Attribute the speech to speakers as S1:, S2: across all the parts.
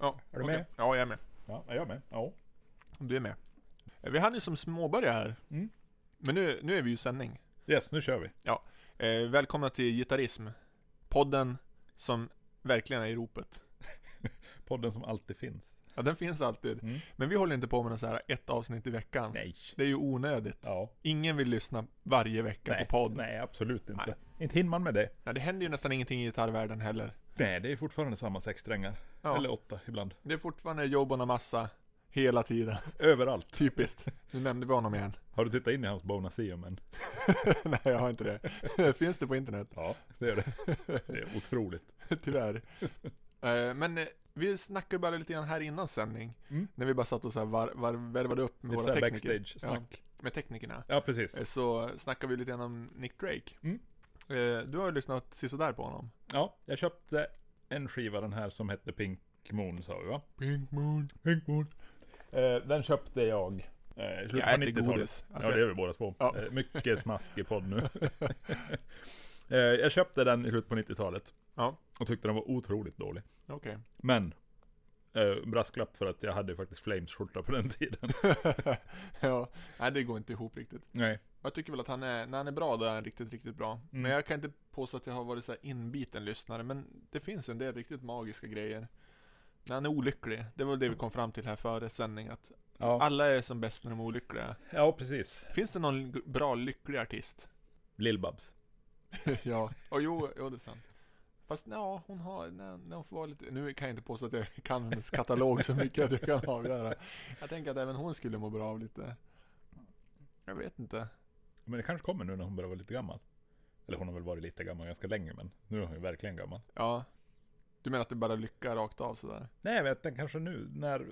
S1: Ja,
S2: Är du
S1: okej.
S2: med?
S1: Ja, jag är med.
S2: Ja, jag med. Ja.
S1: Du är med. Eh, Vi hann ju som småbörja här.
S2: Mm.
S1: Men nu, nu är vi ju i sändning.
S2: Yes, nu kör vi.
S1: Eh, välkomna till Gitarrism. Podden som verkligen är i ropet.
S2: Podden som alltid finns.
S1: Ja, den finns alltid.
S2: Mm.
S1: Men vi håller inte på med något så här ett avsnitt i veckan.
S2: Nej.
S1: Det är ju onödigt.
S2: Ja.
S1: Ingen vill lyssna varje vecka
S2: Nej,
S1: på podd. Nej.
S2: nej, absolut inte.
S1: Nej.
S2: Inte hinner man med det.
S1: det händer ju nästan ingenting i gitarrvärlden heller.
S2: Nej, det är fortfarande samma sex strängar.
S1: Ja.
S2: Eller åtta ibland.
S1: Det är fortfarande jobb och massa hela tiden.
S2: Överallt.
S1: Typiskt. Nu nämnde vi honom igen.
S2: Har du tittat in i hans Bonacium än?
S1: Nej, jag har inte det. Finns det på internet?
S2: Ja, det gör det. Det är otroligt.
S1: Tyvärr. Eh, men eh, vi snackade bara lite grann här innan sändning.
S2: Mm.
S1: När vi bara satt och så här var, var, värvade upp med
S2: Lite
S1: våra
S2: såhär
S1: tekniker.
S2: backstage-snack.
S1: Ja, med teknikerna.
S2: Ja. precis.
S1: Eh, Så snackade vi lite grann om Nick Drake.
S2: Mm.
S1: Eh, Du har ju lyssnat sisådär på honom.
S2: Ja, jag köpte en skiva den här som hette Pink Moon sa vi va?
S1: Pink Moon.
S2: Pink Moon. Eh, den köpte jag eh, i slutet
S1: Jag
S2: på
S1: äter
S2: 90-talet.
S1: godis. Alltså,
S2: ja, det gör vi båda två.
S1: Ja.
S2: Eh, Mycket smaskig podd nu. Eh, jag köpte den i slutet på 90-talet.
S1: Ja.
S2: Och tyckte den var otroligt dålig.
S1: Okej.
S2: Men, eh, brasklapp för att jag hade ju faktiskt Flames-skjorta på den tiden.
S1: ja, nej det går inte ihop riktigt.
S2: Nej.
S1: Jag tycker väl att han är, när han är bra då är han riktigt, riktigt bra. Men jag kan inte påstå att jag har varit så här inbiten lyssnare, men det finns en del riktigt magiska grejer. När han är olycklig, det var det vi kom fram till här före sändning, att
S2: Ja.
S1: alla är som bäst när de är olyckliga.
S2: ja, precis.
S1: Finns det någon g- bra lycklig artist?
S2: Lill-Babs.
S1: ja. Och jo, jo, det är sant. Fast ja, hon har, när, när hon får vara lite, nu kan jag inte påstå att jag kan hennes katalog så mycket att jag kan avgöra. Jag tänker att även hon skulle må bra av lite, jag vet inte.
S2: Men det kanske kommer nu när hon börjar vara lite gammal. Eller hon har väl varit lite gammal ganska länge, men nu är hon ju verkligen gammal.
S1: Ja. Du menar att det bara lycka rakt av sådär?
S2: Nej, jag vet den kanske nu när,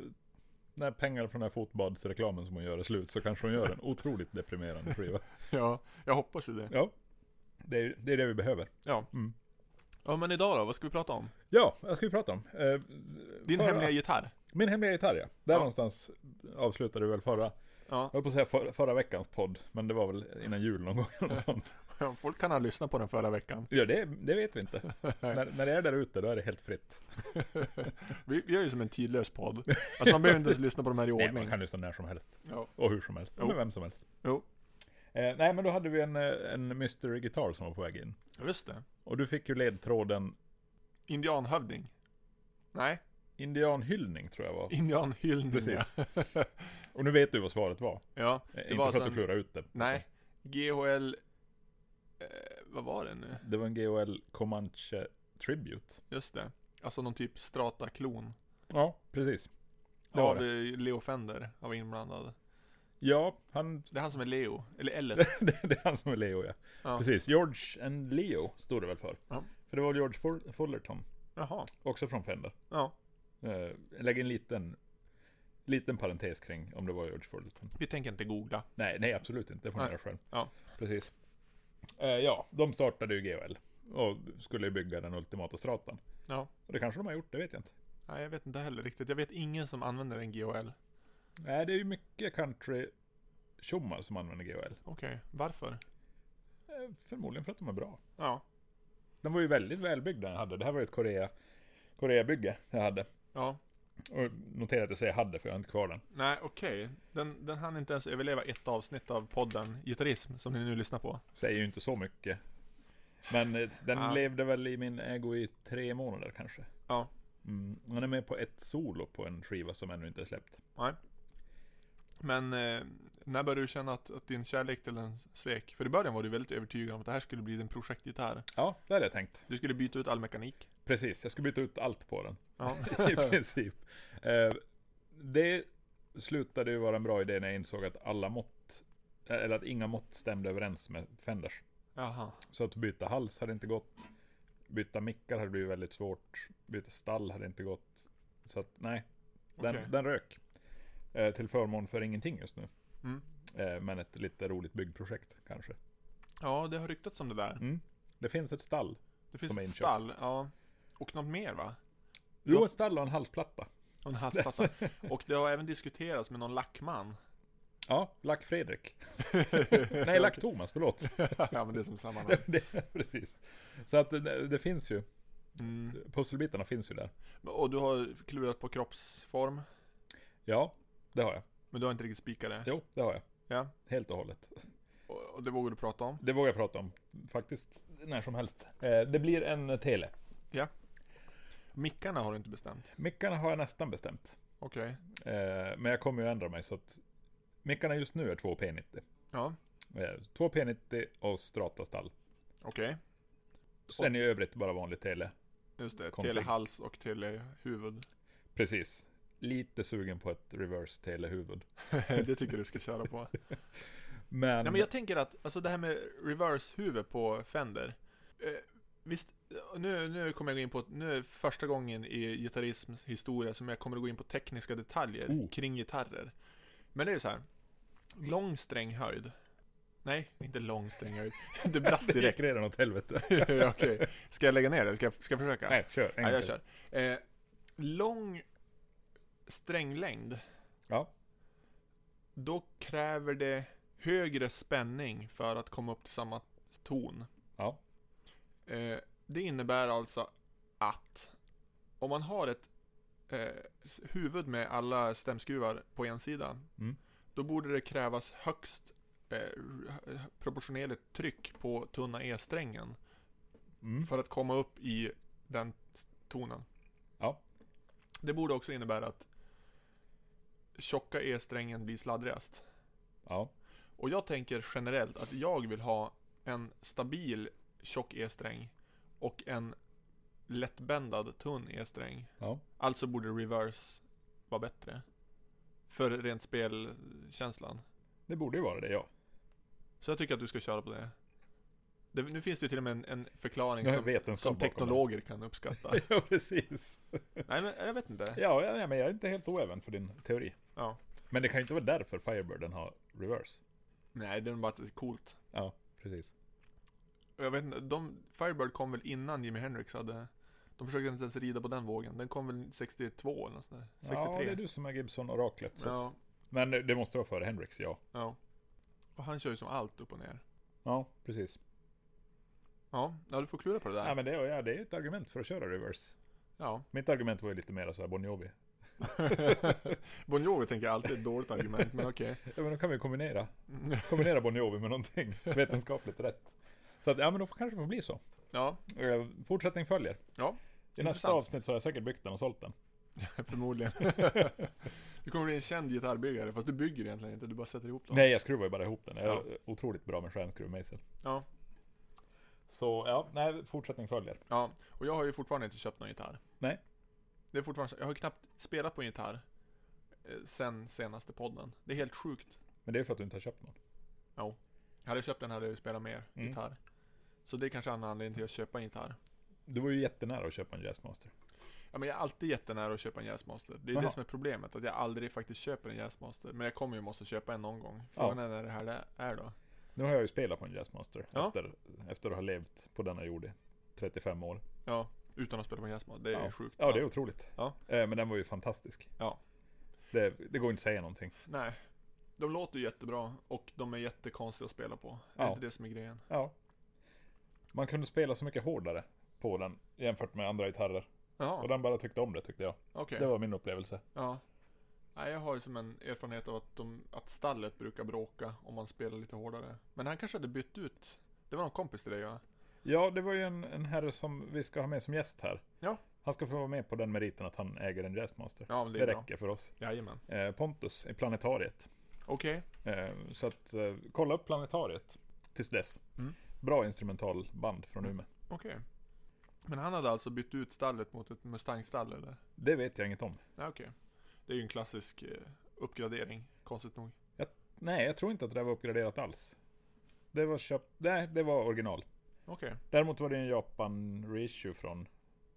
S2: när pengar från den här fotbadsreklamen som hon gör är slut så kanske hon gör en otroligt deprimerande skiva.
S1: Ja, jag hoppas ju det.
S2: Ja, det är det, är det vi behöver.
S1: Ja.
S2: Mm.
S1: Ja men idag då, vad ska vi prata om?
S2: Ja, vad ska vi prata om? Eh,
S1: Din
S2: förra-
S1: hemliga gitarr?
S2: Min hemliga gitarr, ja. Där
S1: Ja.
S2: någonstans avslutade du väl förra,
S1: Ja.
S2: jag höll på att säga för, förra veckans podd, men det var väl innan jul någon gång eller något sånt.
S1: Folk kan ha lyssnat på den förra veckan.
S2: Ja, det, det vet vi inte. när, när det är där ute, då är det helt fritt.
S1: Vi, vi gör ju som en tidlös podd. Alltså man behöver inte ens lyssna på de här i
S2: Nej, man
S1: ordning.
S2: kan lyssna när som helst.
S1: Ja.
S2: Och hur som helst.
S1: Jo.
S2: Med vem som helst.
S1: Jo.
S2: Eh, nej, men då hade vi en, eh, en mystery gitarr som var på väg in.
S1: Just det.
S2: Och du fick ju ledtråden
S1: Indianhövding? Nej,
S2: indianhyllning tror jag var.
S1: indianhyllning.
S2: Precis.
S1: Ja.
S2: Och nu vet du vad svaret var.
S1: ja.
S2: Eh, Inte
S1: var
S2: för att
S1: sen-
S2: du klurar ut det.
S1: Nej. GHL... Eh, vad var det nu?
S2: Det var en GOL Comanche Tribute.
S1: Just det. Alltså någon typ strata-klon.
S2: Ja, precis. Det var
S1: Av
S2: det.
S1: eh, Leo Fender, av inblandad.
S2: Ja, han,
S1: Det är han som är Leo, eller L. E
S2: det, det är han som är Leo ja.
S1: Ja.
S2: Precis, George and Leo står det väl för.
S1: Ja.
S2: För det var George Full- Fullerton,
S1: Jaha.
S2: också från Fender.
S1: Ja.
S2: Eh, lägg en liten, liten parentes kring om det var George Fullerton.
S1: Vi tänker inte googla.
S2: Nej, nej absolut inte. Det får ni
S1: Nej.
S2: göra själv.
S1: Ja.
S2: Precis. Eh, ja, de startade ju GOL och skulle ju bygga den ultimata stratan.
S1: Ja.
S2: Och det kanske de har gjort, det vet jag inte.
S1: Nej, jag vet inte heller riktigt. Jag vet ingen som använder en GHL.
S2: Nej, det är ju mycket country tjommar som använder GOL.
S1: Okej, varför?
S2: Eh, förmodligen för att de är bra.
S1: Ja.
S2: Den var ju väldigt välbyggd den jag hade. Det här var ju ett Korea, Koreabygge jag hade.
S1: Ja.
S2: Och notera att jag säger hade för jag har inte kvar den.
S1: Nej, okej. Den, den hann inte ens överleva ett avsnitt av podden Gitarrism, som ni nu lyssnar på.
S2: Säger ju inte så mycket. Men eh, den
S1: Ah.
S2: levde väl i min ägo i tre månader kanske.
S1: Ja.
S2: Mm. Han är med på ett solo på en skiva som ännu inte är släppt.
S1: Men eh, när började du känna att, att din kärlek till den svek? För i början var du väldigt övertygad om att det här skulle bli din projektgitarr.
S2: Ja, det hade jag tänkt.
S1: Du skulle byta ut all mekanik.
S2: Precis, jag ska byta ut allt på den.
S1: Ja.
S2: I princip. Eh, det slutade ju vara en bra idé när jag insåg att alla mått, eller att inga mått stämde överens med Fenders.
S1: Jaha.
S2: Så att byta hals hade inte gått. Byta mickar hade blivit väldigt svårt. Byta stall hade inte gått. Så att nej, den,
S1: Okej.
S2: den rök. Eh, till förmån för ingenting just nu.
S1: Mm.
S2: Eh, men ett lite roligt byggprojekt kanske.
S1: Ja, det har ryktats om det där.
S2: Mm. Det finns ett stall.
S1: Det finns
S2: Som är
S1: ett
S2: inköpt.
S1: stall, ja. Och något mer va?
S2: Jo, ett stall och en halsplatta.
S1: Och en halsplatta. Och det har även diskuterats med någon lackman.
S2: Ja, Lack Fredrik. nej, Lack Thomas, förlåt.
S1: ja, men det är som sammanhang.
S2: eh, det, det- precis. Så att det, det finns ju.
S1: Mm.
S2: Pusselbitarna finns ju där.
S1: Och du har klurat på kroppsform,
S2: Ja, det har jag.
S1: men du har inte riktigt spikat det.
S2: Jo, det har jag.
S1: Ja.
S2: Helt och hållet.
S1: Och, och det vågar du prata om.
S2: Det vågar jag prata om. Faktiskt när som helst. Eh, det blir en tele.
S1: Mickarna har du inte bestämt.
S2: Mickarna har jag nästan bestämt.
S1: Okej.
S2: Eh, men jag kommer ju ändra mig så att Mickarna just nu är två P90.
S1: Ja,
S2: Eh, Två P90 och strata stall.
S1: okej.
S2: Sen i övrigt bara vanlig tele.
S1: Just det.
S2: Konflikt.
S1: Telehals och eh, telehuvud.
S2: Precis. Lite sugen på ett reverse telehuvud.
S1: det tycker jag du ska köra på.
S2: Men,
S1: Nej, men jag tänker att, alltså det här med reverse-huvud på Fender. Eh, visst, nu, nu kommer jag gå in på, nu är det första gången i gitarrisms historia som jag kommer att gå in på tekniska detaljer
S2: Oh.
S1: kring gitarrer. Men det är ju så här. lång stränghöjd. Nej, inte lång stränghöjd. Det brast
S2: det
S1: direkt.
S2: gick redan åt helvete.
S1: Okej, ska jag lägga ner det? Ska jag, ska jag försöka?
S2: Nej, kör.
S1: Ja,
S2: en gång
S1: jag
S2: till.
S1: kör. Eh, lång stränglängd.
S2: Ja.
S1: Då kräver det högre spänning för att komma upp till samma ton.
S2: Ja.
S1: Eh, det innebär alltså att om man har ett eh, s- huvud med alla stämskruvar på en sida.
S2: Mm.
S1: Då borde det krävas högst eh, r- proportionerligt tryck på tunna E-strängen
S2: Mm.
S1: för att komma upp i den s- tonen.
S2: Ja.
S1: Det borde också innebära att tjocka E-strängen blir sladdrigast.
S2: ja.
S1: Och jag tänker generellt att jag vill ha en stabil tjock E-sträng och en lättbändad tunn E-sträng.
S2: Ja.
S1: Alltså borde reverse vara bättre. För rent spelkänslan.
S2: Det borde ju vara det, ja.
S1: Så jag tycker att du ska köra på det. det nu finns det ju till och med en, en förklaring
S2: Nu har jag
S1: som,
S2: vetenskap
S1: som
S2: bakom
S1: teknologer kan uppskatta.
S2: det. Ja, precis.
S1: Nej men jag vet inte.
S2: Ja, ja, ja, men jag är inte helt oäven för din teori.
S1: Ja.
S2: Men det kan ju inte vara därför Firebirden har reverse.
S1: Nej, det är bara att det är coolt.
S2: Ja, precis.
S1: Och Jag vet inte, de, Firebird kom väl innan Jimi Hendrix hade... De försökte inte ens rida på den vågen. Den kom väl 62 eller nåt sånt där. 63.
S2: Ja, det är du som är Gibson-oraklet. så att-
S1: Ja,
S2: Men det måste vara före Hendrix, ja.
S1: ja. Och han kör ju som allt upp och ner.
S2: Ja, precis.
S1: Ja, ja du får klura på det där.
S2: Ja, men det, ja, det är ett argument för att köra reverse.
S1: Ja.
S2: Mitt argument var ju lite mer så här Bon Jovi.
S1: bon Jovi tänker jag alltid är ett dåligt argument, men okej.
S2: Ja, men då kan vi kombinera. Kombinera Bon Jovi med någonting vetenskapligt rätt. Så att, ja, men då får- kanske det får bli så.
S1: Ja,
S2: Eh, Fortsättning följer.
S1: Ja,
S2: I nästa
S1: intressant.
S2: avsnitt så har jag säkert byggt den och sålt den.
S1: förmodligen. Du kommer bli en känd gitarrbyggare, fast du bygger egentligen inte, du bara sätter ihop dem.
S2: Nej, jag skruvar ju bara ihop den. Jag är
S1: Ja.
S2: otroligt bra med stjärnskruvmejsel.
S1: Ja.
S2: Så ja, nej, fortsättning följer.
S1: Ja, och jag har ju fortfarande inte köpt någon gitarr.
S2: Nej.
S1: Det är fortfarande så- jag har ju knappt spelat på en gitarr eh, sen senaste podden. Det är helt sjukt.
S2: Men det är för att du inte har köpt någon.
S1: Hade jag köpt den hade jag ju spelat mer
S2: Mm.
S1: gitarr. Så det är kanske en annan anledning till att köpa en gitarr.
S2: Du var ju jättenära att köpa en Jazzmaster.
S1: Ja, men jag är alltid jättenära att köpa en Jazzmaster. Det är
S2: Jaha.
S1: det som är problemet, att jag aldrig faktiskt köper en Jazzmaster. Men jag kommer ju måste köpa en någon gång. Frågan är när det här det är då.
S2: Nu har jag ju spelat på en Jazzmaster
S1: Ja.
S2: efter, efter att ha levt på denna jord i 35 år.
S1: Ja, utan att spela på en Jazzmaster. Det är sjukt.
S2: Ja, det är otroligt.
S1: Ja.
S2: Eh, Men den var ju fantastisk.
S1: Ja.
S2: Det, det går inte att säga någonting.
S1: Nej. De låter ju jättebra och de är jättekonstiga att spela på. Det
S2: Ja.
S1: är inte det som är grejen.
S2: Ja. Man kunde spela så mycket hårdare på den jämfört med andra gitarrer.
S1: Jaha,
S2: Och
S1: okej.
S2: den bara tyckte om det tyckte jag. Det var min upplevelse.
S1: Ja. Nej, jag har ju som en erfarenhet av att, de, att stallet brukar bråka om man spelar lite hårdare. Men han kanske hade bytt ut. Det var någon kompis till dig ja.
S2: Ja, det var ju en, en herre som vi ska ha med som gäst här.
S1: Ja.
S2: Han ska få vara med på den meriten att han äger en Jazzmaster.
S1: Ja, men det
S2: Det
S1: är bra.
S2: räcker för oss.
S1: Jajamän.
S2: Eh, Pontus i Planetariet.
S1: Okej.
S2: Eh, så att eh, kolla upp Planetariet tills dess.
S1: Mm.
S2: Bra instrumentalband från
S1: Mm.
S2: Umeå.
S1: Okej. Men han hade alltså bytt ut stallet mot ett Mustang-stall eller?
S2: Det vet jag inget om.
S1: Ja, okej. Det är ju en klassisk eh, uppgradering, konstigt nog.
S2: Nej, jag tror inte att det där var uppgraderat alls. Det var köpt... Nej, det var original.
S1: Okej,
S2: Däremot var det en Japan reissue från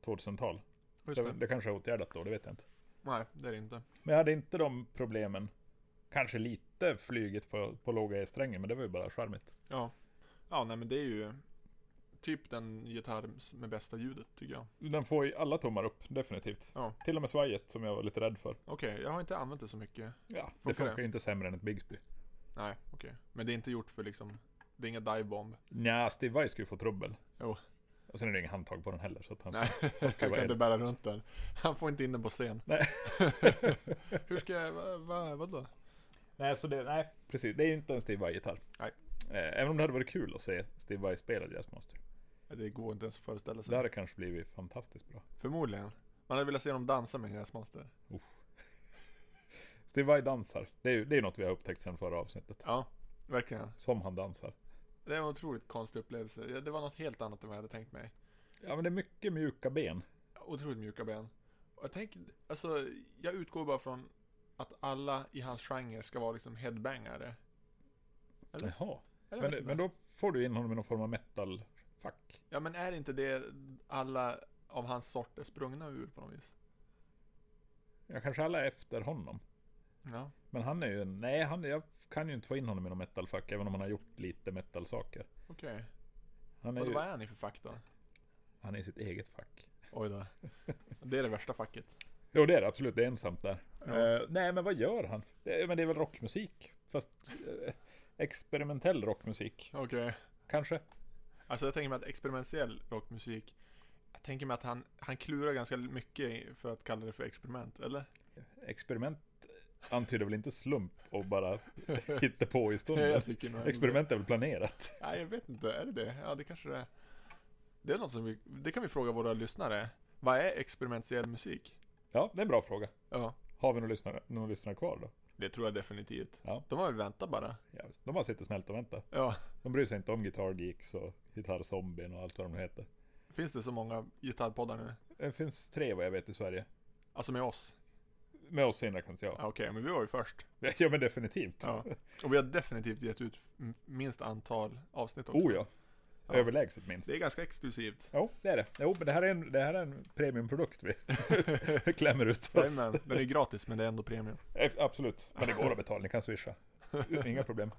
S2: 2000-tal.
S1: just
S2: Det,
S1: det.
S2: det kanske är åtgärdat då, det vet jag inte.
S1: Nej, det är det inte.
S2: Men jag hade inte de problemen. Kanske lite flyget på, på låga E-strängen, men det var ju bara charmigt.
S1: Ja. Ja, nej men det är ju typ den gitarr s- med bästa ljudet tycker jag.
S2: Den får ju alla tummar upp, definitivt.
S1: Ja.
S2: Till och med svajet som jag var lite rädd för.
S1: Okej, jag har inte använt det så mycket.
S2: Ja, det
S1: Funkar
S2: funkar
S1: det?
S2: ju inte sämre än ett Bigsby.
S1: Nej, okej. Men det är inte gjort för liksom, det är inga divebomb.
S2: Nja, Steve Vai skulle få trubbel.
S1: Jo.
S2: Och sen är det inga handtag på den heller. Så att han
S1: Nej, han
S2: ska vara
S1: kan inte
S2: en.
S1: bära runt den. Han får inte in den på scen.
S2: Nej.
S1: Hur ska jag, va, va, vadå?
S2: Nej, så det, nej, precis. Det är ju inte en Steve Vai-gitarr.
S1: Nej.
S2: Eh, Även om det hade varit kul att se Steve Vai spela Jazzmaster.
S1: Det går inte ens att föreställa sig.
S2: Det hade kanske blivit fantastiskt bra.
S1: Förmodligen. Man hade velat se dem dansa med Gräsmonster.
S2: Steve Vai dansar. Det är ju det är ju något vi har upptäckt sedan förra avsnittet.
S1: Ja, verkligen.
S2: Som han dansar.
S1: Det var en otroligt konstig upplevelse. Ja, Det var något helt annat än vad jag hade tänkt mig.
S2: Ja, men det är mycket mjuka ben.
S1: Otroligt mjuka ben. Och jag tänker, alltså, jag utgår bara från att alla i hans genre ska vara liksom headbangare. Eller?
S2: Jaha.
S1: Eller
S2: Men,
S1: vet
S2: men
S1: inte.
S2: då får du in honom i någon form av metal-fack.
S1: Ja men är inte det alla av hans sort är sprungna ur på något vis?
S2: Ja, kanske alla är efter honom.
S1: Ja.
S2: Men han är ju en... Nej, han, jag kan ju inte få in honom i någon metal-fack. Även om han har gjort lite metal-saker.
S1: Okej.
S2: Han är
S1: Och då,
S2: ju
S1: vad är han i för fack då?
S2: han är i sitt eget fack.
S1: Oj då. Det är det värsta facket.
S2: Jo, det är det absolut. Det är ensamt där.
S1: Ja.
S2: Eh, nej, men vad gör han? Det, men det är väl rockmusik? Fast eh, experimentell rockmusik,
S1: Okej.
S2: kanske?
S1: Alltså jag tänker mig att experimentell rockmusik Jag tänker mig att han, han klurar ganska mycket i- för att kalla det för experiment, eller?
S2: Experiment antyder väl inte slump och bara hitta på i stunden?
S1: jag tycker nog
S2: Experiment är väl planerat?
S1: Nej, jag vet inte. Är det det? Ja, det kanske det är. Det är något som vi... Det kan vi fråga våra lyssnare. Vad är experimentell musik?
S2: Ja, det är en bra fråga.
S1: Ja,
S2: Har vi någon lyssnare, någon lyssnare kvar då?
S1: det tror jag definitivt.
S2: Ja.
S1: De har väl väntat bara.
S2: Ja, de bara sitter snällt och väntar.
S1: Ja.
S2: De bryr sig inte om Guitar Geeks och Guitar Zombien och allt vad de nu heter.
S1: Finns det så många gitarrpoddar nu?
S2: Det finns tre vad jag vet i Sverige.
S1: Alltså med oss?
S2: Med oss inräknas
S1: Ja,
S2: jag.
S1: Okej, men vi var ju först.
S2: Ja men definitivt.
S1: Ja. Och vi har definitivt gett ut m- minst antal avsnitt också.
S2: Oh ja.
S1: Ja.
S2: Överlägset minst.
S1: Det är ganska exklusivt.
S2: Jo, det är det. Jo, men det här är en, det här är en premiumprodukt vi klämmer ut oss.
S1: Jajamän, Den är gratis, men det är ändå premium.
S2: Eh, Absolut, men det går att betala. Ni kan swisha. Inga problem.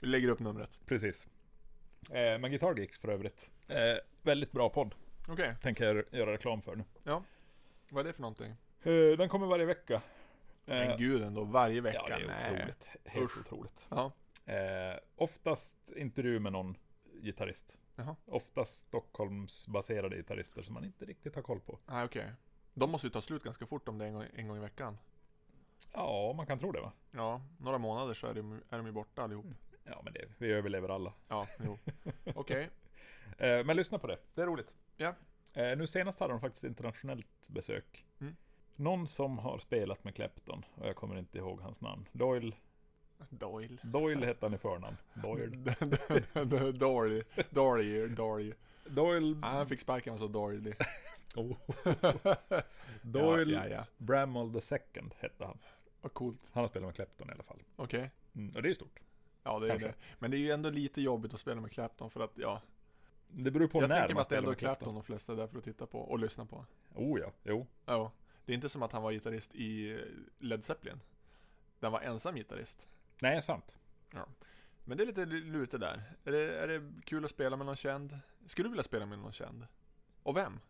S1: Vi lägger upp numret.
S2: Precis. Eh, men Guitar Geeks för övrigt. Eh, väldigt bra podd,
S1: Okej,
S2: tänker jag göra reklam för nu.
S1: vad är det för någonting?
S2: Eh, den kommer varje vecka. Eh,
S1: Men gud ändå, varje vecka.
S2: Ja, det är
S1: Nej.
S2: otroligt. Helt
S1: Usch.
S2: otroligt.
S1: Ja.
S2: Eh, oftast intervju med någon gitarrist.
S1: Jaha.
S2: Oftast Stockholmsbaserade gitarrister som man inte riktigt har koll på.
S1: Nej, okej. De måste ju ta slut ganska fort om det är en gång, en gång i veckan.
S2: Ja, man kan tro det va?
S1: Ja, några månader så är de, är de ju borta allihop.
S2: Mm. Ja, men det, vi överlever alla.
S1: Ja, jo. Okej.
S2: Eh, men lyssna på det, det är roligt.
S1: Ja.
S2: Eh, nu senast hade de faktiskt internationellt besök.
S1: Mm.
S2: Någon som har spelat med Clapton, och jag kommer inte ihåg hans namn. Doyle,
S1: Doyle.
S2: Doyle hette han i förnamn. Doyle.
S1: Doyle. Doyle. Doyle.
S2: Mm. Doyle,
S1: Ah, Han fick sparken och så Doyle.
S2: oh. Doyle
S1: Ja, ja, ja.
S2: Bramall the second hette han.
S1: Vad coolt.
S2: Han har spelat med Clapton i alla fall.
S1: Okej.
S2: Mm, och det är ju stort.
S1: Ja, det är
S2: Kanske.
S1: det. Men det är ju ändå lite jobbigt att spela med Clapton för att, ja.
S2: Det beror på
S1: jag
S2: när
S1: tänker mig
S2: man
S1: att det är
S2: spelar
S1: ändå
S2: med
S1: Clapton
S2: Clapton.
S1: de flesta är där för att titta på och lyssna på.
S2: Oh ja, jo.
S1: Ja. Det är inte som att han var gitarrist i eh, Led Zeppelin. Där han var ensam gitarrist.
S2: Nej, sant.
S1: Men det är lite lute där. Är det, är det kul att spela med någon känd? Skulle du vilja spela med någon känd? Och vem?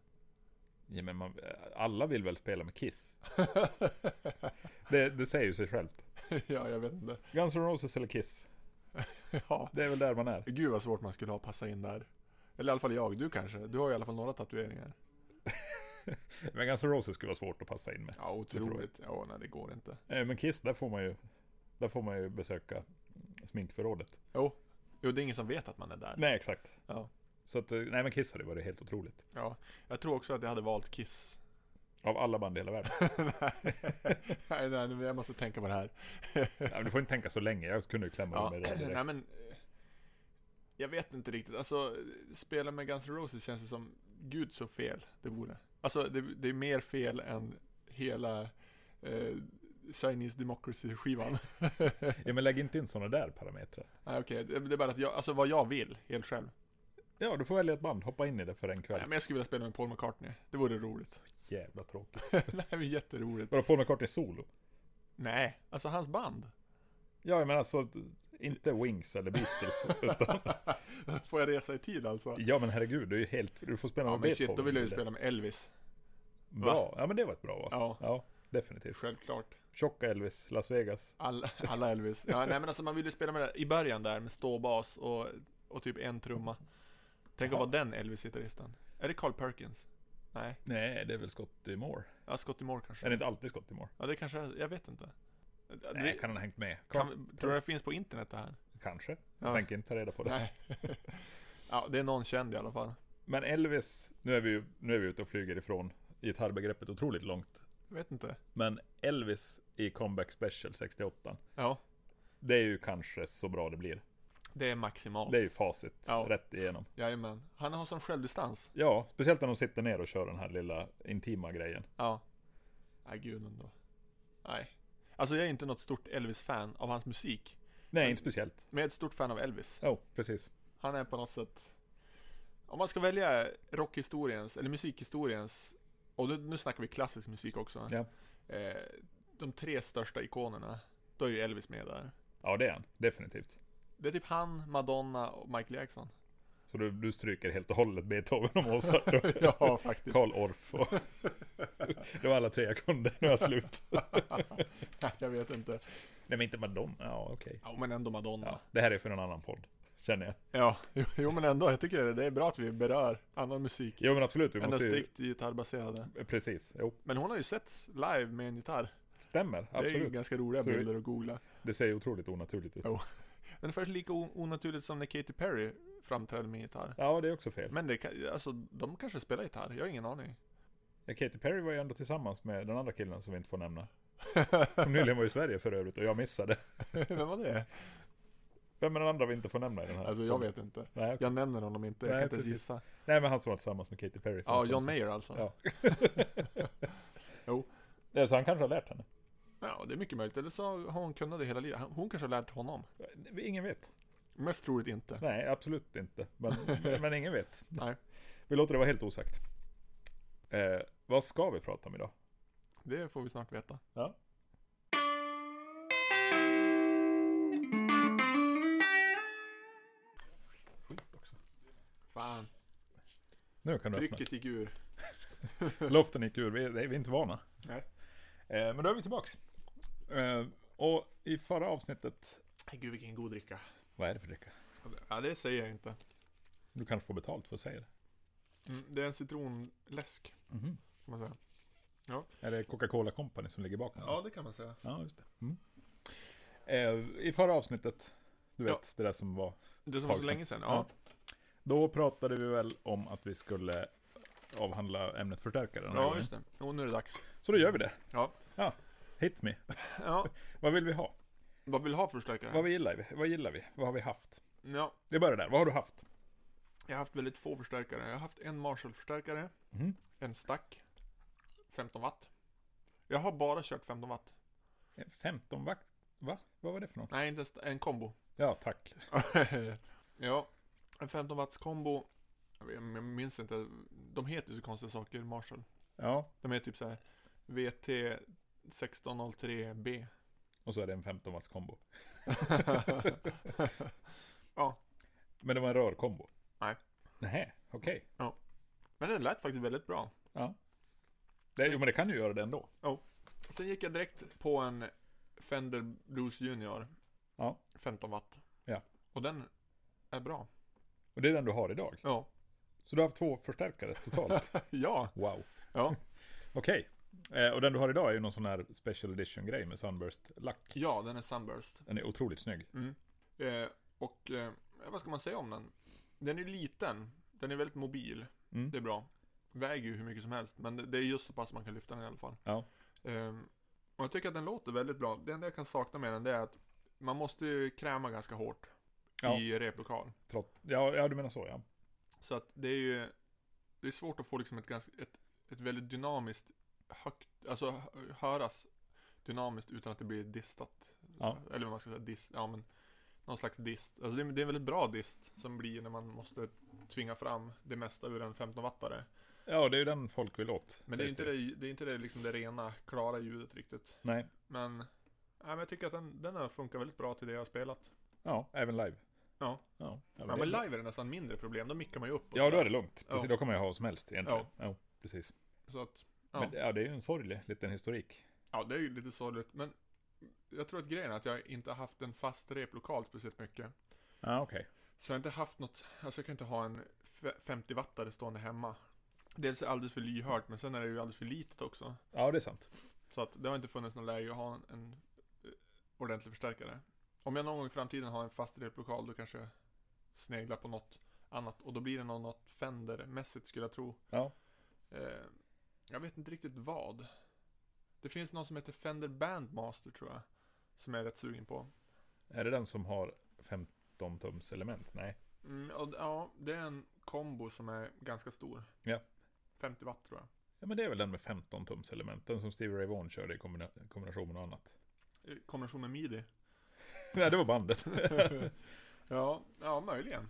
S2: Ja, men man, eh, alla vill väl spela med Kiss? Det, det säger ju sig självt.
S1: ja, jag vet inte.
S2: Guns N' Roses eller Kiss?
S1: Ja.
S2: Det är väl där man är.
S1: Gud vad svårt man skulle ha att passa in där. Eller i alla fall jag, du kanske? Du har i alla fall några tatueringar.
S2: Men Guns N' Roses skulle vara svårt att passa in med.
S1: Ja,
S2: tror jag.
S1: otroligt. Ja, nej det går inte.
S2: Eh, Men Kiss, där får man ju, där får man ju besöka sminkförrådet.
S1: Jo, det är ingen som vet att man är där.
S2: Nej, exakt.
S1: Ja.
S2: Så att, eh, nej men Kiss hade varit helt otroligt.
S1: Ja, jag tror också att jag hade valt Kiss.
S2: Av alla band i hela världen.
S1: nej, nej, nej, jag måste tänka på det här.
S2: Nej, men du får inte tänka så länge, jag kunde ju klämma
S1: Ja,
S2: ur mig det där direkt.
S1: nej men... eh, Jag vet inte riktigt, alltså spela med Guns N' Roses känns det som, gud så fel det vore. Alltså det, det är mer fel än hela eh, Chinese Democracy-skivan.
S2: Ja, men lägg inte in sådana där parametrar.
S1: nej okej, det, det är bara att jag, alltså vad jag vill, helt själv.
S2: Ja, du får välja ett band, hoppa in i det för en
S1: Nej,
S2: kväll.
S1: men jag skulle vilja spela med Paul McCartney, det vore roligt.
S2: Jävla tråkigt.
S1: nej men jätteroligt.
S2: Vadå, Paul McCartney solo?
S1: Nej, alltså hans band.
S2: Ja, men alltså, inte Wings eller Beatles, utan...
S1: Får jag resa i tid alltså?
S2: Ja, men herregud, du är ju helt... Du får spela
S1: Ja
S2: med
S1: men
S2: Beethoven.
S1: shit, då vill jag ju
S2: eller-
S1: spela med Elvis.
S2: Bra, ja men det var ett bra val.
S1: Ja,
S2: Ja, definitivt.
S1: självklart.
S2: Tjocka Elvis, Las Vegas.
S1: Alla, alla Elvis. Ja, nej men alltså man ville ju spela med det i början där med ståbas och, och typ en trumma. Tänk att
S2: Ja.
S1: vara den Elvis-gitarristen. Är det Carl Perkins? Nej.
S2: Nej, det är väl Scotty Moore.
S1: Ja, Scotty Moore kanske.
S2: Är det inte alltid Scotty Moore?
S1: Ja, det kanske är. Jag vet inte.
S2: Nej, kan han ha hängt med?
S1: kan,
S2: Kan,
S1: tror du det finns på internet det här?
S2: kanske.
S1: Ja.
S2: Jag tänker inte ta reda på det.
S1: Nej. ja, det är någon känd i alla fall.
S2: Men Elvis, nu är vi ju nu är vi ute och flyger ifrån gitarrbegreppet otroligt långt.
S1: Jag vet inte.
S2: Men Elvis i Comeback Special 68.
S1: Ja,
S2: Det är ju kanske så bra det blir.
S1: det är maximalt.
S2: Det är ju facit
S1: Ja.
S2: rätt igenom.
S1: Jajamän. Han har sån självdistans.
S2: Ja, speciellt när de sitter ner och kör den här lilla intima grejen.
S1: Ja. Nej, gud ändå. Nej. Alltså jag är inte något stort Elvis-fan av hans musik.
S2: Nej, inte speciellt.
S1: Men jag är ett stort fan av Elvis.
S2: Jo, precis.
S1: Han är på något sätt... Om man ska välja rockhistoriens, eller musikhistoriens, och nu, nu snackar vi klassisk musik också.
S2: Ja.
S1: Eh, de tre största ikonerna, då är ju Elvis med där.
S2: Ja, det är han. Definitivt.
S1: Det är typ han, Madonna och Michael Jackson.
S2: Så du, du stryker helt och hållet Beethoven och Mozart och
S1: ja, faktiskt.
S2: Karl Orff och... Det var alla tre jag kunde. Nu är jag slut.
S1: jag vet inte.
S2: Nej, men inte Madonna. Ja, okej.
S1: Ja, men ändå Madonna.
S2: Ja, det här är för en annan podd, känner jag.
S1: Ja, jo men ändå. Jag tycker det, det är bra att vi berör annan musik.
S2: Jo, men absolut. Vi
S1: Än den
S2: måste ju...
S1: strikt gitarrbaserade.
S2: Precis. Jo,
S1: Men hon har ju setts live med en gitarr.
S2: stämmer.
S1: Det är ju
S2: Absolut.
S1: ganska roliga
S2: Så vi-
S1: bilder att googla.
S2: Det ser ju otroligt onaturligt ut.
S1: Ja. Ungefär lika o- onaturligt som när Katy Perry framträdde med gitarr.
S2: Ja, det är också fel.
S1: Men det kan, alltså, de kanske spelar gitarr, jag har ingen aning.
S2: Ja, Katy Perry var ju ändå tillsammans med den andra killen som vi inte får nämna. Som nyligen var i Sverige för övrigt och jag missade.
S1: Vem var det?
S2: Vem är den andra vi inte får nämna i den här?
S1: Alltså jag vet inte.
S2: Nej, okej.
S1: Jag nämner honom inte, jag
S2: Nej,
S1: kan inte ens
S2: precis.
S1: gissa.
S2: Nej men han som var tillsammans med Katy Perry. för
S1: Ja,
S2: en stund
S1: John
S2: sedan.
S1: Mayer alltså. Ja.
S2: Ja.
S1: Jo.
S2: Ja, Så han kanske har lärt henne.
S1: det är mycket möjligt. Eller så har hon kunnat det hela livet. Han- Hon kanske har lärt honom.
S2: Ingen vet.
S1: Mest troligt inte.
S2: Nej, absolut inte. Men, men ingen vet.
S1: Nej.
S2: Vi låter det vara helt osagt. Eh, vad ska vi prata om idag?
S1: Det får vi snart veta.
S2: Ja.
S1: Fan,
S2: Nu kan du öppna.
S1: trycket gick ur.
S2: Loften gick ur, vi är, vi är inte vana.
S1: Nej.
S2: Eh, men då är vi tillbaks. Eh, och i förra avsnittet...
S1: Gud vilken god dricka.
S2: Vad är det för dricka?
S1: Ja, det säger jag inte.
S2: Du kanske får betalt för att säga det.
S1: Mm, det är en citronläsk, kan man säga.
S2: Är det Coca-Cola Company som ligger bakom? det?
S1: det kan man säga.
S2: ja just det. Mm. Eh, I förra avsnittet, du vet
S1: Ja.
S2: det där som var.
S1: Det som var så
S2: Tag sedan.
S1: länge sedan, ja.
S2: Då pratade vi väl om att vi skulle avhandla ämnet förstärkare. den här
S1: Ja,
S2: gången.
S1: just det. Och nu är det dags.
S2: Så då gör vi det.
S1: Ja.
S2: ja. Hit me.
S1: Ja,
S2: Vad vill vi ha?
S1: vad vill du ha för förstärkare?
S2: Vad, vi gillar vi? vad gillar vi? Vad har vi haft?
S1: Ja,
S2: Vi börjar där. Vad har du haft?
S1: jag har haft väldigt få förstärkare. Jag har haft en Marshall-förstärkare,
S2: Mhm.
S1: en stack, 15 watt. Jag har bara kört 15 watt.
S2: 15 vakt... Va? Vad var det för något?
S1: Nej, inte en, st- en kombo.
S2: Ja, tack.
S1: ja, en 15 watts kombo. Jag vet- Jag minns inte, de heter ju så konstiga saker, Marshall.
S2: Ja,
S1: De är typ så här VT 1603B.
S2: och så är det en 15 watts kombo.
S1: ja,
S2: Men det var en rörkombo?
S1: Nej.
S2: Nej, okej.
S1: men den lät faktiskt väldigt bra.
S2: Det- Jo, men det kan ju göra det ändå.
S1: Sen gick jag direkt på en Fender Blues Junior.
S2: Ja.
S1: 15 watt.
S2: Ja.
S1: Och den är bra.
S2: Och det är den du har idag.
S1: Ja.
S2: Så du har haft två förstärkare totalt.
S1: ja.
S2: Wow.
S1: Ja.
S2: Okej. Eh, och den du har idag är ju någon sån här special edition grej med Sunburst-lack.
S1: Ja, den är Sunburst.
S2: Den är otroligt snygg.
S1: Mm. Eh, och eh, vad ska man säga om den? Den är liten. Den är väldigt mobil.
S2: Mm.
S1: Det är bra. Väger ju hur mycket som helst, men det- det är just så pass man kan lyfta den i alla fall.
S2: Ja.
S1: Ehm, och jag tycker att den låter väldigt bra. Det enda jag kan sakna med den det är att man måste ju kräma ganska hårt
S2: Ja.
S1: i replokal.
S2: Trott... Ja, ja, du menar så ja.
S1: Så att det är ju det är svårt att få liksom ett, ganska, ett, ett väldigt dynamiskt högt, alltså hö- höras dynamiskt utan att det blir distat.
S2: Ja.
S1: Eller vad man ska säga, dist, ja men någon slags dist. Alltså det är, det är en väldigt bra dist som blir när man måste tvinga fram det mesta ur en 15-wattare.
S2: Ja, det är ju den folk vill åt.
S1: Men det är
S2: sägs
S1: inte det, det, är inte det, liksom det rena, klara ljudet riktigt.
S2: Nej.
S1: Men, nej, men jag tycker att den, den har funkat väldigt bra till det jag har spelat.
S2: Ja, även live.
S1: Ja.
S2: Ja, ja,
S1: Ja,
S2: det-
S1: men live är det nästan mindre problem, då mickar man ju upp. och
S2: Ja,
S1: så
S2: då är
S1: där.
S2: det lugnt. Precis,
S1: Ja.
S2: Då kan man ju ha vad som helst egentligen. Ja, precis.
S1: Så att,
S2: Ja.
S1: Ja.
S2: Men ja, det är ju en sorglig liten historik.
S1: Ja, det är ju lite sorgligt, men jag tror att grejen är att jag inte har haft en fast replokal speciellt mycket.
S2: Ja, okej.
S1: Så jag har inte haft något, alltså jag kan inte ha en fe- 50-wattare stående hemma. Dels är det alldeles för lyhört, men sen är det ju alldeles för litet också.
S2: Ja, det är sant.
S1: Så att det har inte funnits något läge att ha en, en eh, ordentlig förstärkare. Om jag någon gång i framtiden har en fast replokal då kanske jag sneglar på något annat. Och då blir det nog något Fender-mässigt skulle jag tro.
S2: Ja.
S1: Eh, jag vet inte riktigt vad. Det finns någon som heter Fender Bandmaster tror jag. Som jag är rätt sugen på.
S2: Är det den som har 15 tums element? Nej.
S1: Mm, och, d- ja, det är en kombo som är ganska stor.
S2: Ja.
S1: 50 watt tror jag.
S2: Ja, men det är väl den med 15 tums element. Den som Stevie Ray Vaughan körde i kombina- kombination med något annat.
S1: I kombination med midi.
S2: Nej, det var bandet.
S1: ja, ja, möjligen.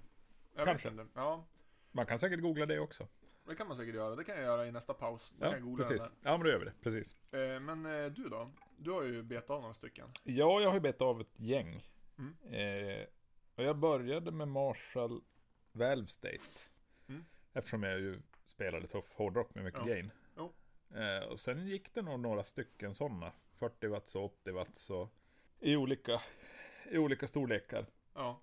S1: Jag
S2: Kanske.
S1: Vet inte. Ja,
S2: Man kan säkert googla det också.
S1: det kan man säkert göra. Det kan jag göra i nästa paus. Då kan jag
S2: Ja,
S1: googla
S2: precis.
S1: den
S2: Ja, men då gör vi det. Precis.
S1: där. Eh, men eh, du då? Du har ju betat av några stycken.
S2: Ja, jag har ju bett av ett gäng.
S1: Mm.
S2: Eh, och jag började med Marshall Valve State.
S1: Mm.
S2: Eftersom jag ju spelade tuff hårdrock med mycket
S1: Ja.
S2: gain.
S1: Jo.
S2: Eh, och sen gick det nog några stycken sådana. 40 watts och 80 watts och i olika, i olika storlekar.
S1: Ja,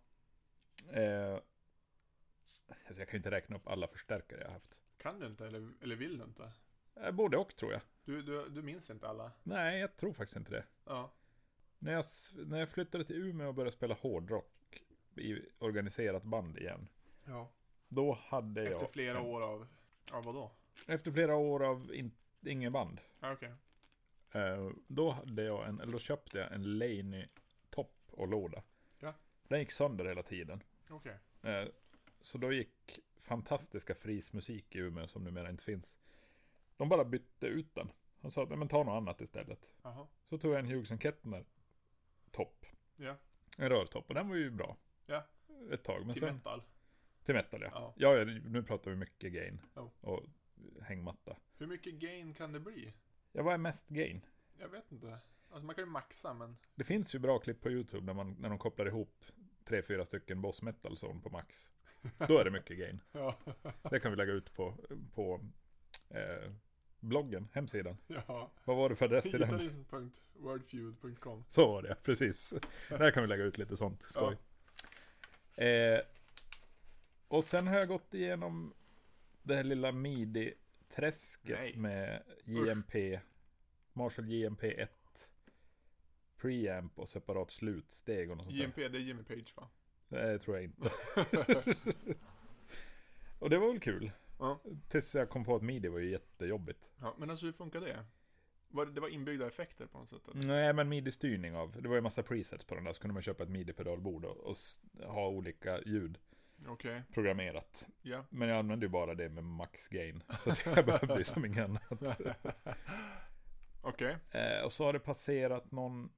S2: Eh, alltså jag kan ju inte räkna upp alla förstärkare jag har haft.
S1: kan du inte eller, eller vill du inte?
S2: Eh, både och tror jag.
S1: Du, du, du minns inte alla?
S2: Nej, jag tror faktiskt inte det.
S1: Ja,
S2: När jag, s- när jag flyttade till Umeå och började spela hårdrock i organiserat band igen.
S1: ja.
S2: Då hade jag...
S1: efter flera
S2: en-
S1: år av... Ja, vadå?
S2: Efter flera år av in, ingen band.
S1: Ja, okej.
S2: eh, Då hade jag en, eller då köpte jag en Laney topp och låda.
S1: Ja.
S2: Den gick sönder hela tiden.
S1: Okej.
S2: Eh, Så då gick fantastiska frismusik i Umeå som numera inte finns. De bara bytte ut den. Han sa att "Nej, men ta något annat istället.
S1: Jaha.
S2: Så tog jag en Hughes Kettner topp.
S1: Ja.
S2: En rörtopp och den var ju bra.
S1: Ja.
S2: Ett tag. Men
S1: Till
S2: sen,
S1: metal.
S2: till metal ja.
S1: Ja.
S2: ja. ja, nu pratar vi mycket gain.
S1: Ja.
S2: Och hängmatta.
S1: Hur mycket gain kan det bli?
S2: Ja, vad är mest gain?
S1: Jag vet inte. Alltså man kan ju maxa men...
S2: Det finns ju bra klipp på YouTube när, man, när de kopplar ihop tre, fyra stycken boss metal zone på max. Då är det mycket gain.
S1: Ja.
S2: Det kan vi lägga ut på, på eh, bloggen, hemsidan.
S1: ja.
S2: Vad var det för adress till den?
S1: Gitarrism.wordfeud.com
S2: Så var det, precis. Där kan vi lägga ut lite sånt skoj. Eh, och sen har jag gått igenom det här lilla midi-träsket
S1: Nej.
S2: med JMP, Marshall JMP 1, preamp och separat slutsteg och något sånt där.
S1: JMP, det är Jimmy Page va?
S2: Nej, tror jag inte. och det var väl kul.
S1: Ja.
S2: Tills jag kom på att midi var ju jättejobbigt.
S1: ja. Men alltså hur funkar det? Var det, det var inbyggda effekter på något sätt? Eller?
S2: Nej, men midi-styrning av. Det var ju massa presets på den där. Så kunde man köpa ett midi-pedalbord och, och s- ha olika ljud
S1: Okej,
S2: programmerat.
S1: ja.
S2: Men jag använde ju bara det med max gain. Så att jag behövde ju som ingen annan.
S1: Okej.
S2: Eh, och så har det passerat någon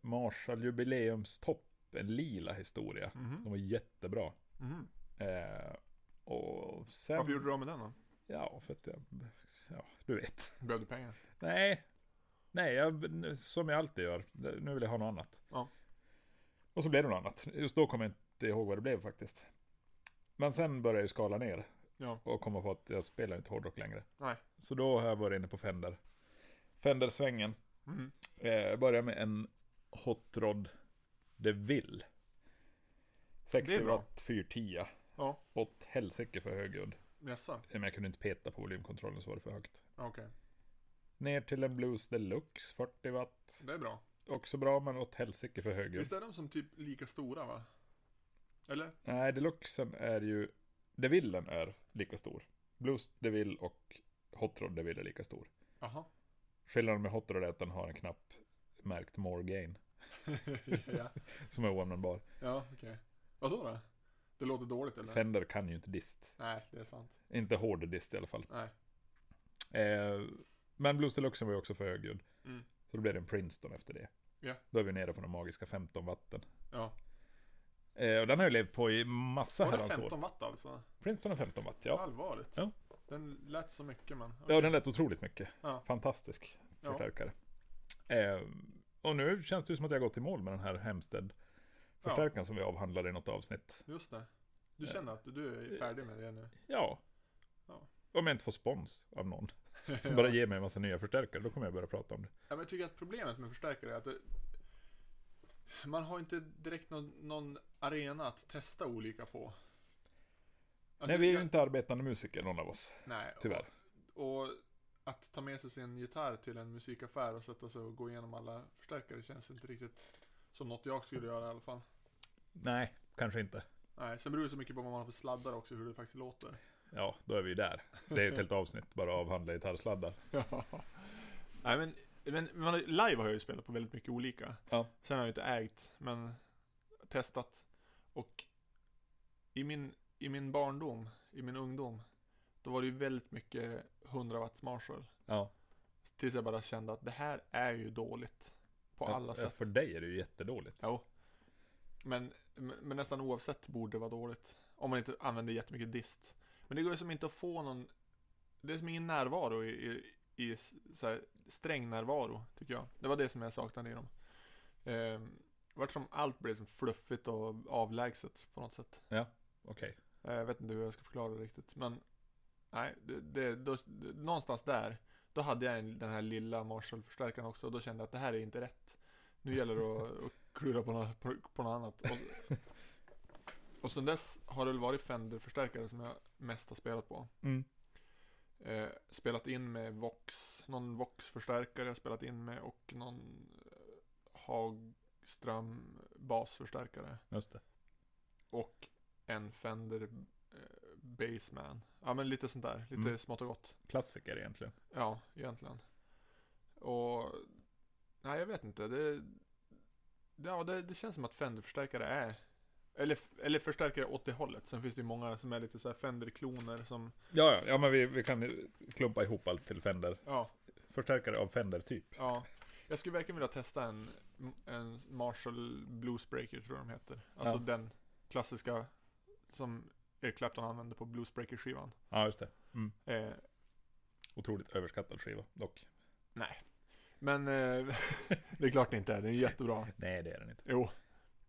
S2: Marshall jubileumstopp. En lila historia. Den
S1: Mhm.
S2: var jättebra.
S1: Mhm.
S2: Eh, och sen...
S1: Varför gjorde du av med den då?
S2: Ja, för att jag... Ja, du vet.
S1: Behövde pengar?
S2: Nej. Nej, jag, som jag alltid gör. Nu vill jag ha något annat.
S1: Ja.
S2: Och så blev det något annat. Just då kommer jag inte ihåg vad det blev faktiskt. Men sen började jag ju skala ner.
S1: Ja.
S2: Och komma på att jag spelar inte hårdrock längre.
S1: Nej.
S2: Så då har jag varit inne på Fender. Fender-svängen.
S1: Mhm.
S2: Eh, jag börjar med en Hot Rod DeVille.
S1: Det
S2: 60
S1: är bra.
S2: watt 410.
S1: Ja.
S2: Åt helsike för hög udd.
S1: Jaså?
S2: Men jag kunde inte peta på volymkontrollen så var det för högt.
S1: Ja, Okej.
S2: Ner till en Blues Deluxe 40 watt.
S1: Det är bra.
S2: Också bra men åt helsike för höger.
S1: Visst är de som typ lika stora va? Eller?
S2: Nej, deluxen är ju... Devillen är lika stor. Blues Deville och Hot Rod Deville är lika stor.
S1: Jaha.
S2: Skillnaden med Hot Rod är att den har en knapp märkt More Gain.
S1: ja,
S2: Som är oanvändbar.
S1: ja okej. Vadå då? Det låter dåligt eller?
S2: Fender kan ju inte dist.
S1: Nej, det är sant.
S2: Inte hård dist i alla fall.
S1: Nej.
S2: Eh, men Blues Deluxen var ju också för högljudd.
S1: Mm.
S2: Så då blev det en Princeton efter det.
S1: Ja.
S2: Då är vi nere på de magiska 15 watten.
S1: Ja.
S2: Eh, och den har ju levt på i massa
S1: Var det
S2: herrans år.
S1: 15 watt alltså?
S2: Princeton är 15 watt, ja.
S1: Allvarligt?
S2: Ja.
S1: Den lät så mycket men...
S2: Ja, den lät otroligt mycket.
S1: Ja.
S2: Fantastisk
S1: Ja.
S2: förstärkare. Eh, och nu känns det ju som att jag har gått i mål med den här Hemstead-förstärkaren
S1: ja,
S2: som vi avhandlade i något avsnitt.
S1: just det. Du
S2: Ja.
S1: känner att du
S2: Eh,
S1: är färdig med det nu?
S2: Ja.
S1: Ja.
S2: Om jag inte får spons av någon som
S1: Ja.
S2: bara ger mig en massa nya förstärkare, då kommer jag börja prata om det.
S1: Ja, men jag tycker att problemet med förstärkare är att det, man har inte direkt någon, någon arena att testa olika på. Alltså,
S2: Nej, vi är ju
S1: jag-
S2: inte arbetande musiker, någon av oss.
S1: Nej,
S2: tyvärr.
S1: och Och att ta med sig sin gitarr till en musikaffär och sätta sig och gå igenom alla förstärkare känns inte riktigt som något jag skulle göra i alla fall.
S2: Nej, kanske inte.
S1: Nej, sen beror det så mycket på vad man har för sladdar också, hur det faktiskt låter.
S2: Ja, då är vi ju där. Det är ett helt avsnitt bara av handla gitarrsladdar.
S1: Nej men, men man, har- live har jag ju spelat på väldigt mycket olika.
S2: Ja.
S1: Sen har jag inte ägt, men testat. Och i min, i min barndom, i min ungdom, då var det ju väldigt mycket 100 watts Marshall.
S2: Ja.
S1: Tills jag bara kände att det här är ju dåligt. På alla
S2: Ja,
S1: sätt.
S2: För dig är det ju jättedåligt.
S1: Jo. Men, men men nästan oavsett borde det vara dåligt. Om man inte använder jättemycket dist. Men det går ju som inte att få någon... Det är som ingen närvaro i, i, i s- så här, sträng närvaro, tycker jag. Det var det som jag saknade i dem. Ehm, det vart som allt blev som fluffigt och avlägset på något sätt.
S2: Okej.
S1: Eh, Jag vet inte hur jag ska förklara det riktigt, men... Nej, det, det, då, det, någonstans där, då hade jag en, den här lilla Marshall-förstärkaren också och då kände jag att det här är inte rätt. Nu gäller det att, att klura på något, på, på något annat. Och, och sen dess har det väl varit Fender-förstärkare som jag mest har spelat på.
S2: Mm.
S1: Eh, spelat in med Vox, någon Vox-förstärkare jag har spelat in med och någon eh, Hagström basförstärkare.
S2: Just det.
S1: Och en Fender eh, Baseman. Ja men lite sånt där, lite
S2: Mm.
S1: smått och gott.
S2: Klassiker egentligen.
S1: Ja, egentligen. Och, nej jag vet inte, det, ja, det, det känns som att Fender-förstärkare är, eller, eller förstärkare åt det hållet. Sen finns det ju många som är lite så här Fender-kloner som,
S2: Ja, ja, ja men vi, vi kan ju klumpa ihop allt till Fender.
S1: ja,
S2: Förstärkare av typ. Fender-typ.
S1: ja. Jag skulle verkligen vilja testa en, en Marshall Bluesbreaker tror jag de heter. Alltså
S2: Ja.
S1: den klassiska som Eric Clapton använde på Bluesbreaker-skivan.
S2: Ja, just det.
S1: Eh,
S2: Otroligt överskattad skiva, dock.
S1: Men eh, det är klart det inte är. Den är jättebra.
S2: Nej, det är den inte.
S1: Jo,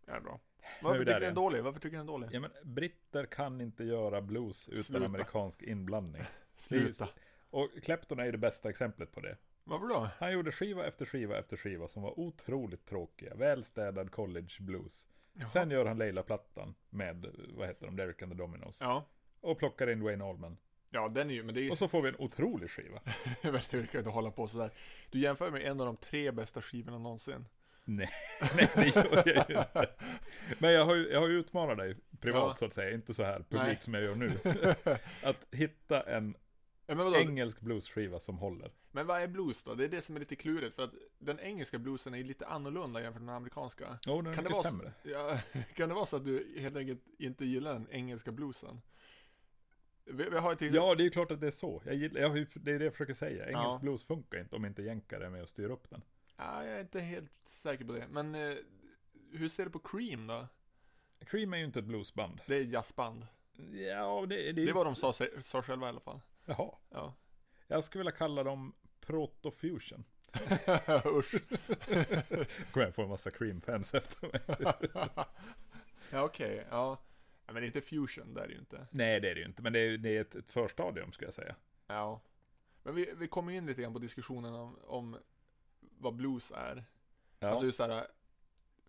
S1: den är bra.
S2: är vi
S1: Varför
S2: där
S1: tycker du den är
S2: igen.
S1: dålig? Varför tycker du den är dålig?
S2: Ja, men britter kan inte göra blues utan
S1: Sluta.
S2: amerikansk inblandning.
S1: Sluta.
S2: Och Clapton är ju det bästa exemplet på det.
S1: Varför då?
S2: Han gjorde skiva efter skiva efter skiva som var otroligt tråkiga. Välstädad college blues.
S1: Jaha.
S2: Sen gör han Leila-plattan med, vad heter de, Derek and the Dominos.
S1: Ja.
S2: Och plockar in Dwayne Allman.
S1: Ja, den är ju, men det är ju,
S2: Och så får vi en otrolig skiva.
S1: men du kan ju inte hålla på sådär. Du jämför med en av de tre bästa skivorna någonsin.
S2: Nej, det gör jag ju inte. Men jag har ju, jag har ju utmanat dig privat
S1: Ja.
S2: så att säga, inte så här publikt
S1: Nej.
S2: som jag gör nu. Att hitta en
S1: Ja, men vadå?
S2: engelsk bluesskiva som håller.
S1: Men vad är blues då? Det är det som är lite klurigt, för att den engelska bluesen är ju lite annorlunda jämfört med den amerikanska.
S2: Jo, den är
S1: Kan det vara
S2: mycket
S1: så-
S2: sämre.
S1: Ja, kan det vara så att du helt enkelt inte gillar den engelska bluesen? Vi, vi har ju till exempel...
S2: Ja, det är ju klart att det är så. Jag gillar, jag, har ju- det är det jag försöker säga. Engelsk
S1: Ja.
S2: blues funkar inte om inte jänkare är med och styr upp den.
S1: Ja, jag är inte helt säker på det. Men eh, hur ser du på Cream då?
S2: Cream är ju inte ett bluesband.
S1: Det är jazzband.
S2: Ja, det, det, är
S1: Det
S2: ju-
S1: var de sa, sig- sa själva i alla fall.
S2: Jaha.
S1: Ja.
S2: Jag skulle vilja kalla dem protofusion.
S1: Usch.
S2: Kommer jag få en massa cream-fans efter mig.
S1: ja, okej. Ja. ja. Men det är inte fusion, det är det ju inte.
S2: Nej, det är det ju inte. Men det är, det är ett, ett förstadium, skulle jag säga.
S1: Ja. Men vi, vi kommer ju in lite grann på diskussionen om, om vad blues är.
S2: Ja.
S1: Alltså just så här,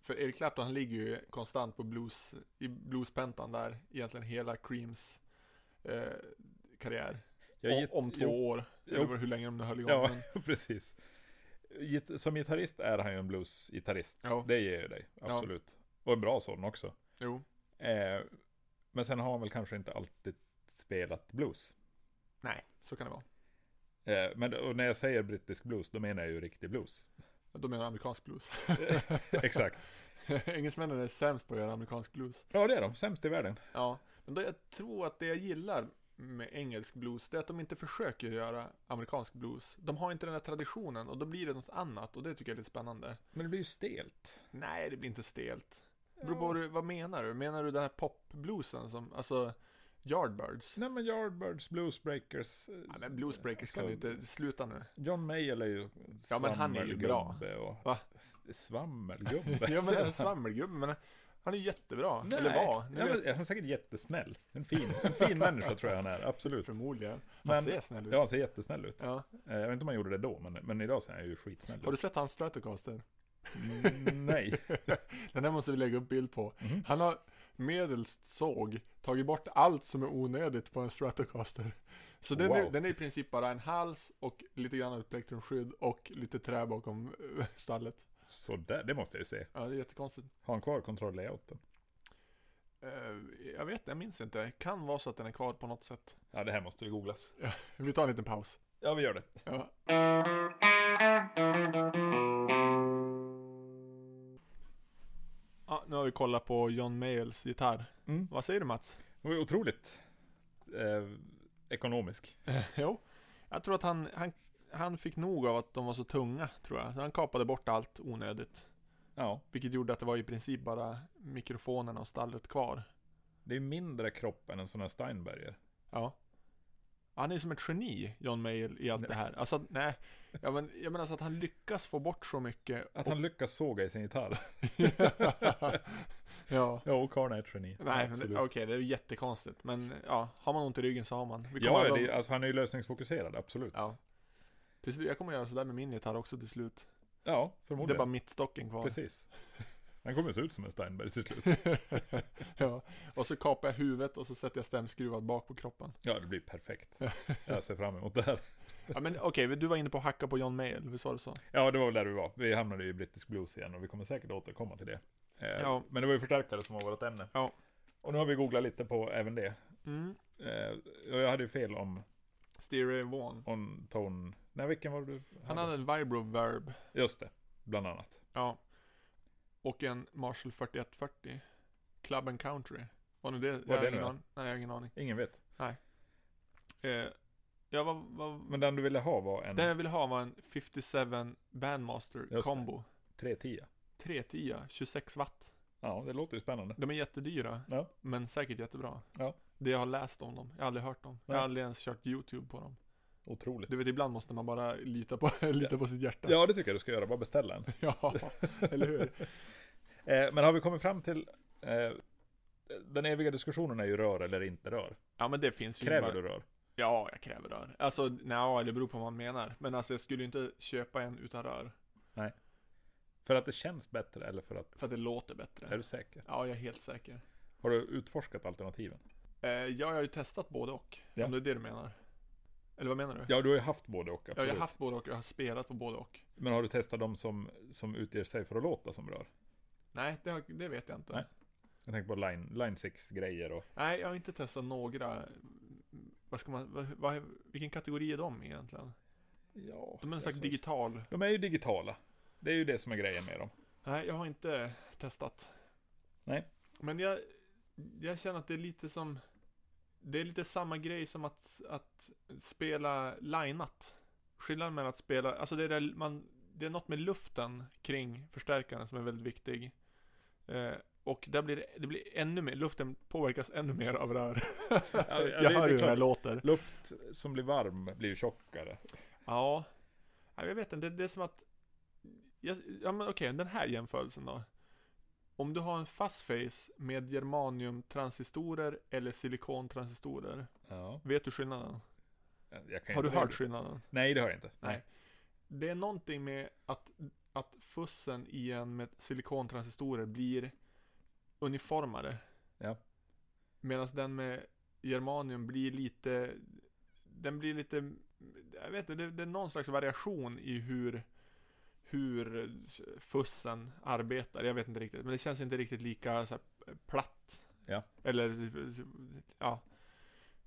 S1: för Eric Clapton han ligger ju konstant på blues, i bluespentan där, egentligen hela Creams eh, karriär.
S2: Jag
S1: Om,
S2: git-
S1: om två
S2: jo,
S1: år,
S2: jo.
S1: eller hur länge de nu höll igång.
S2: Ja.
S1: men-
S2: precis. Git- Som gitarrist är han ju en bluesgitarrist.
S1: Ja.
S2: Det ger jag dig,
S1: Ja.
S2: absolut. Och en bra sådan också.
S1: Jo.
S2: Eh, men sen har han väl kanske inte alltid spelat blues.
S1: Nej, så kan det vara.
S2: Eh, men och när jag säger brittisk blues, då menar jag ju riktig blues.
S1: De menar amerikansk blues.
S2: Exakt.
S1: Engelsmännen är sämst på att göra amerikansk blues.
S2: Ja, det är de. Sämst i världen.
S1: Ja, men då jag tror att det jag gillar med engelsk blues, det är att de inte försöker göra amerikansk blues. De har inte den här traditionen och då blir det något annat och det tycker jag är lite spännande.
S2: Men det blir ju stelt.
S1: Nej, det blir inte stelt. Det beror på vad, du, vad menar du? Menar du den här popbluesen som, alltså Yardbirds?
S2: Nej men Yardbirds, Bluesbreakers. eh,
S1: Ja, men Bluesbreakers kan du
S2: Alltså-
S1: inte, sluta nu.
S2: John Mayall är ju
S1: Ja, men han är ju bra.
S2: svammelgubbe Och...
S1: Va?
S2: S- Svammelgubbe?
S1: Ja men en svammelgubbe, men han är jättebra.
S2: Nej.
S1: Eller var, nu
S2: Nej,
S1: vet
S2: men han är säkert jättesnäll. En fin, en fin människa tror jag han är, absolut.
S1: Förmodligen. Han
S2: Men-
S1: ser snäll ut.
S2: Ja, han ser jättesnäll ut.
S1: Ja.
S2: Eh, Jag vet inte om han gjorde det då, men, men idag ser han ju skitsnäll
S1: Har
S2: ut.
S1: du sett hans Stratocaster?
S2: Mm, nej.
S1: Den här måste vi lägga upp bild på. Han har medelst såg tagit bort allt som är onödigt på en Stratocaster. Så den, är,
S2: Wow.
S1: den är i princip bara en hals och lite grann av ett plektrumskydd och lite trä bakom eh, stallet.
S2: Sådär, det måste jag ju se.
S1: Ja, det är jättekonstigt.
S2: Har han kvar kontroll-layouten?
S1: Eh, jag vet jag minns inte. Det kan vara så att den är kvar på något sätt.
S2: Ja, det här måste vi googlas.
S1: Vi tar en liten paus.
S2: Ja, vi gör det.
S1: Ja. Ja, nu har vi kollat på John Mayles gitarr.
S2: Mm.
S1: Vad säger du Mats?
S2: Det var ju otroligt eh, ekonomisk.
S1: Eh, jo, jag tror att han, han, han fick nog av att de var så tunga, tror jag. Så han kapade bort allt onödigt.
S2: Ja,
S1: Vilket gjorde att det var i princip bara mikrofonerna och stallet kvar.
S2: det är mindre kropp än en sån här Steinberger.
S1: Ja. Han är som ett geni, John Mayall, i allt det här. Alltså, att- nej. Jag men, jag menar så att han lyckas få bort så mycket.
S2: Att han lyckas såga i sin gitarr.
S1: ja.
S2: Ja, och karln är ett geni.
S1: Nej, men det-
S2: Absolut.
S1: okej, det är ju jättekonstigt. Men ja, har man ont i ryggen så har man. Vi kommer
S2: Ja,
S1: alla-
S2: det, är- alltså han är ju lösningsfokuserad, absolut.
S1: ja. Till slut, jag kommer göra sådär med min gitarr också till slut. Det
S2: Ja,
S1: är bara
S2: förmodligen.
S1: mittstocken kvar.
S2: Precis. Han kommer se ut som en Steinberg till slut.
S1: ja. Och så kapar jag huvudet och så sätter jag stämskruvad bak på kroppen.
S2: Ja, det blir perfekt. Jag ser fram emot det här.
S1: Ja, men okej, du var inne på att hacka på John Mayall, visst var det så?
S2: Ja, det var väl där vi var. Vi hamnade ju i brittisk blues igen och vi kommer säkert återkomma till det. Eh,
S1: Ja.
S2: Men det var ju förstärkare som var vårt ämne.
S1: Ja.
S2: Och nu har vi googlat lite på även det.
S1: Mm.
S2: Eh, och jag hade ju fel om,
S1: Stereo Vaughan.
S2: om ton... Nej, vilken var det du
S1: Han hade en Vibroverb.
S2: Just det, bland annat.
S1: Ja. Och en Marshall 4140. Club and Country. Var nu det? jag
S2: det
S1: har
S2: nu
S1: ingen
S2: är?
S1: aning. Nej, jag har ingen aning.
S2: Ingen vet.
S1: Eh, ja, vad, vad,
S2: Men den du ville ha var en
S1: Den jag ville ha var en 57 Bandmaster
S2: det.
S1: Combo.
S2: 310.
S1: 310, 26 watt.
S2: Ja, det låter ju spännande.
S1: De är jättedyra,
S2: Ja.
S1: men säkert jättebra.
S2: Ja.
S1: Det jag har läst om dem, jag har aldrig hört dem. Jag
S2: Nej.
S1: har aldrig ens kört YouTube på dem.
S2: Otroligt.
S1: Du vet, ibland måste man bara lita på, lita på sitt hjärta.
S2: Ja, det tycker jag du ska göra. Bara beställa en.
S1: Ja, eller hur?
S2: Eh, men har vi kommit fram till... Eh, den eviga diskussionen är ju rör eller inte rör.
S1: Ja, men det finns ju
S2: Kräver
S1: bara-
S2: du rör?
S1: Ja, jag kräver rör. Alltså, nja, det beror på vad man menar. Men alltså, jag skulle ju inte köpa en utan rör.
S2: För att det känns bättre eller för att...
S1: För att det låter
S2: Är
S1: bättre.
S2: du säker?
S1: Ja, jag är helt säker.
S2: Har du utforskat alternativen?
S1: Eh, ja, jag har ju testat både och.
S2: Ja.
S1: Om det är det du menar. Eller vad menar du?
S2: Ja, du har ju haft både och. Absolut.
S1: Ja, jag har haft både och, jag har spelat på både och.
S2: Men har du testat de som, som utger sig för att låta som rör?
S1: Nej, det, har, det vet jag inte. Nej.
S2: Nej. Jag tänker på line, line 6-grejer och...
S1: jag har inte testat några. Vad ska man, vad, vad, vilken kategori är de egentligen?
S2: Ja,
S1: De är en
S2: jag
S1: slags
S2: sa-
S1: digital.
S2: de är ju digitala. Det är ju det som är grejen med dem.
S1: Nej, jag har inte testat.
S2: Nej.
S1: Men jag, jag känner att det är lite som, det är lite samma grej som att, att spela lineat. Skillnaden mellan att spela, alltså det är, där man, det är något med luften kring förstärkaren som är väldigt viktig. Eh, och där blir det, det blir ännu mer, luften påverkas ännu mer av rör.
S2: ja, det- det är klart.
S1: låter.
S2: Luft som blir varm blir ju tjockare.
S1: Ja, Ja, jag vet inte, det, det är som att, jag, ja men okej, den här jämförelsen då. Om du har en fast face med germaniumtransistorer eller silikontransistorer,
S2: Ja.
S1: vet du skillnaden?
S2: Jag kan
S1: Har du
S2: inte
S1: hört
S2: det.
S1: skillnaden?
S2: Nej, det har jag inte.
S1: Nej. Det är någonting med att, att fussen i en med silikontransistorer blir uniformare.
S2: Ja.
S1: Medan den med germanium blir lite, den blir lite, jag vet inte, det, det är någon slags variation i hur, hur fussen arbetar. Jag vet inte riktigt, men det känns inte riktigt lika så här, platt.
S2: Ja.
S1: Eller, ja.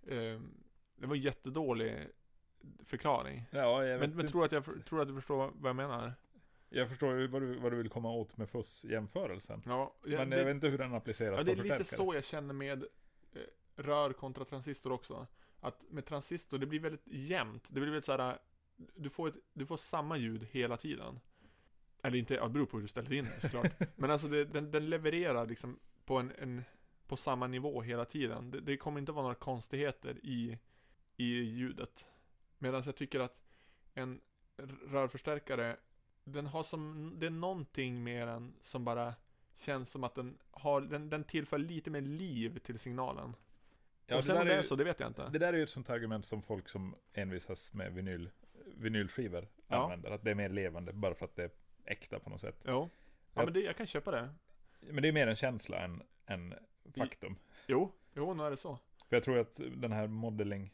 S1: Ehm, Det var en jättedålig förklaring.
S2: Ja, jag, vet
S1: Men, men
S2: inte.
S1: tror du att jag för- tror du att du förstår vad jag menar?
S2: jag förstår ju vad du, vad du vill komma åt med fussjämförelsen.
S1: Ja, jag,
S2: Men
S1: det,
S2: jag vet inte hur den appliceras
S1: ja, det
S2: på
S1: är lite
S2: förstärkare.
S1: så jag känner med eh, rör kontra transistor också. Att med transistor, det blir väldigt jämnt. Det blir väldigt såhär, du får, ett, du får samma ljud hela tiden. Eller inte, ja, det beror på hur du ställer in det såklart. men alltså det, den, den levererar liksom på en, en på samma nivå hela tiden. Det, det kommer inte vara några konstigheter i, i ljudet. Medan jag tycker att en r- rörförstärkare, den har som, det är någonting med den som bara känns som att den har, den, den tillför lite mer liv till signalen.
S2: Ja,
S1: Och sen om
S2: där
S1: det
S2: är
S1: är
S2: ju-
S1: så, det vet jag inte.
S2: Det där är ju ett sånt argument som folk som envisas med vinyl, vinylskivor
S1: Ja.
S2: använder. Att det är mer levande bara för att det är äkta på något sätt.
S1: Jo. Ja,
S2: Jag-
S1: men det, jag kan köpa det.
S2: Men det är mer en känsla än, än faktum.
S1: Jo, jo, nu är det så.
S2: För jag tror att den här modeling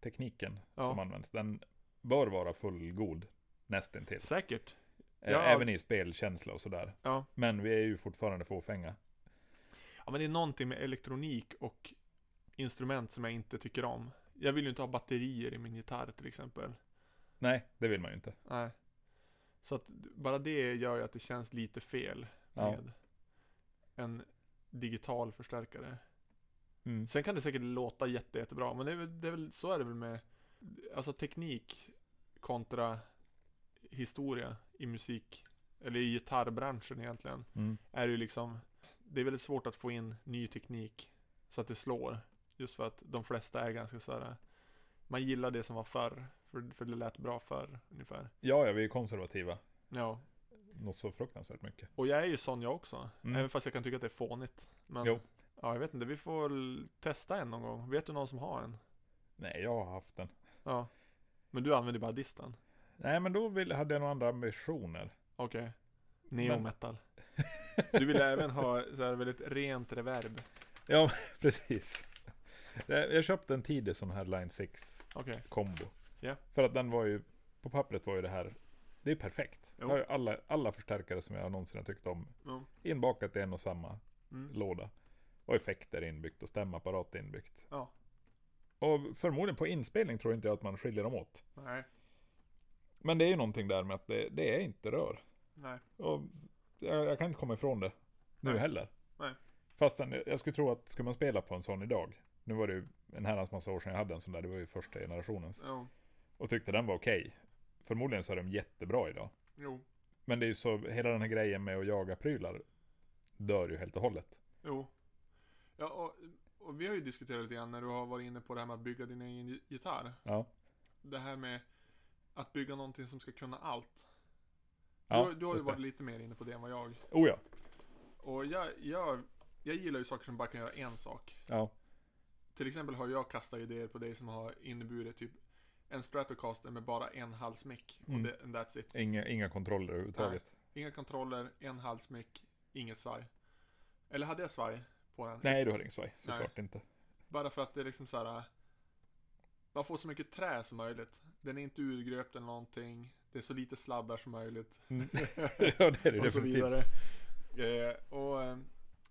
S2: tekniken
S1: Ja.
S2: som används, den bör vara fullgod nästintill.
S1: Säkert.
S2: Eh,
S1: Ja.
S2: Även i spelkänsla och sådär.
S1: Ja.
S2: Men vi är ju fortfarande fåfänga.
S1: ja, men det är någonting med elektronik och instrument som jag inte tycker om. Jag vill ju inte ha batterier i min gitarr till exempel.
S2: Nej, det vill man ju inte.
S1: Nej. Så att bara det gör ju att det känns lite fel
S2: Ja.
S1: med en digital förstärkare.
S2: Mm.
S1: Sen kan det säkert låta jätte, jättebra, men det är, väl, det är väl, så är det väl med alltså teknik kontra historia i musik, eller i gitarrbranschen egentligen,
S2: Mm.
S1: är det ju liksom, det är väldigt svårt att få in ny teknik så att det slår. Just för att de flesta är ganska såhär, man gillar det som var förr, för, för det lät bra förr ungefär.
S2: Ja, ja, vi är konservativa.
S1: Ja,
S2: Något så fruktansvärt mycket.
S1: och jag är ju sån jag också.
S2: Mm.
S1: Även fast jag kan tycka att det är fånigt. Men,
S2: Jo.
S1: ja, jag vet inte. Vi får väl testa en någon gång. Vet du någon som har en?
S2: Nej, jag har haft den.
S1: Ja. Men du använder bara distan?
S2: Nej, men då vill, hade jag några andra ambitioner.
S1: Okej. Neometal. Du vill även ha så här väldigt rent reverb?
S2: Ja, precis. Eh, Jag jag köpte en tidig sån här Line 6
S1: Okej.
S2: kombo.
S1: Ja.
S2: För att den var ju, på pappret var ju det här, det är perfekt.
S1: Jo.
S2: Jag har ju alla, alla förstärkare som jag någonsin har tyckt om
S1: Ja.
S2: inbakat i en och samma
S1: Mm.
S2: låda. Och effekter inbyggt och stämapparat inbyggt.
S1: Ja.
S2: Och förmodligen på inspelning tror inte jag att man skiljer dem åt.
S1: Nej.
S2: Men det är ju någonting där med att det, det är inte rör.
S1: Nej.
S2: Och jag, jag kan inte komma ifrån det nu
S1: Nej.
S2: heller.
S1: Nej.
S2: Fastän jag, jag skulle tro att skulle man spela på en sån idag. Nu var det ju en herrans massa år sedan jag hade en sån där. Det var ju första generationens.
S1: Ja.
S2: Och tyckte den var okej. Förmodligen så är de jättebra idag.
S1: Jo.
S2: Men det är ju så, hela den här grejen med att jaga prylar dör ju helt och hållet.
S1: Jo. Ja, och, och vi har ju diskuterat lite grann när du har varit inne på det här med att bygga din egen gi- gitarr.
S2: Ja.
S1: Det här med att bygga någonting som ska kunna allt.
S2: ja
S1: du, har- du har ju
S2: just det.
S1: varit lite mer inne på det än vad jag.
S2: Oh ja.
S1: Och jag, jag, jag gillar ju saker som bara kan göra en sak.
S2: Ja.
S1: Till exempel har jag kastat idéer på dig som har inneburit typ en Stratocaster med bara en halsmick.
S2: Mm.
S1: Och det, and that's it.
S2: Inga, inga kontroller överhuvudtaget.
S1: Inga kontroller, en halsmick, inget svaj. Eller hade jag svaj på den?
S2: Nej, du har ingen svaj.
S1: Nej.
S2: Såklart inte.
S1: Bara för att det är liksom så här. Man får så mycket trä som möjligt. Den är inte urgröpt eller någonting. Det är så lite sladdar som möjligt.
S2: ja, Mm. det är det
S1: och så
S2: definitivt.
S1: vidare. Eh, och, eh,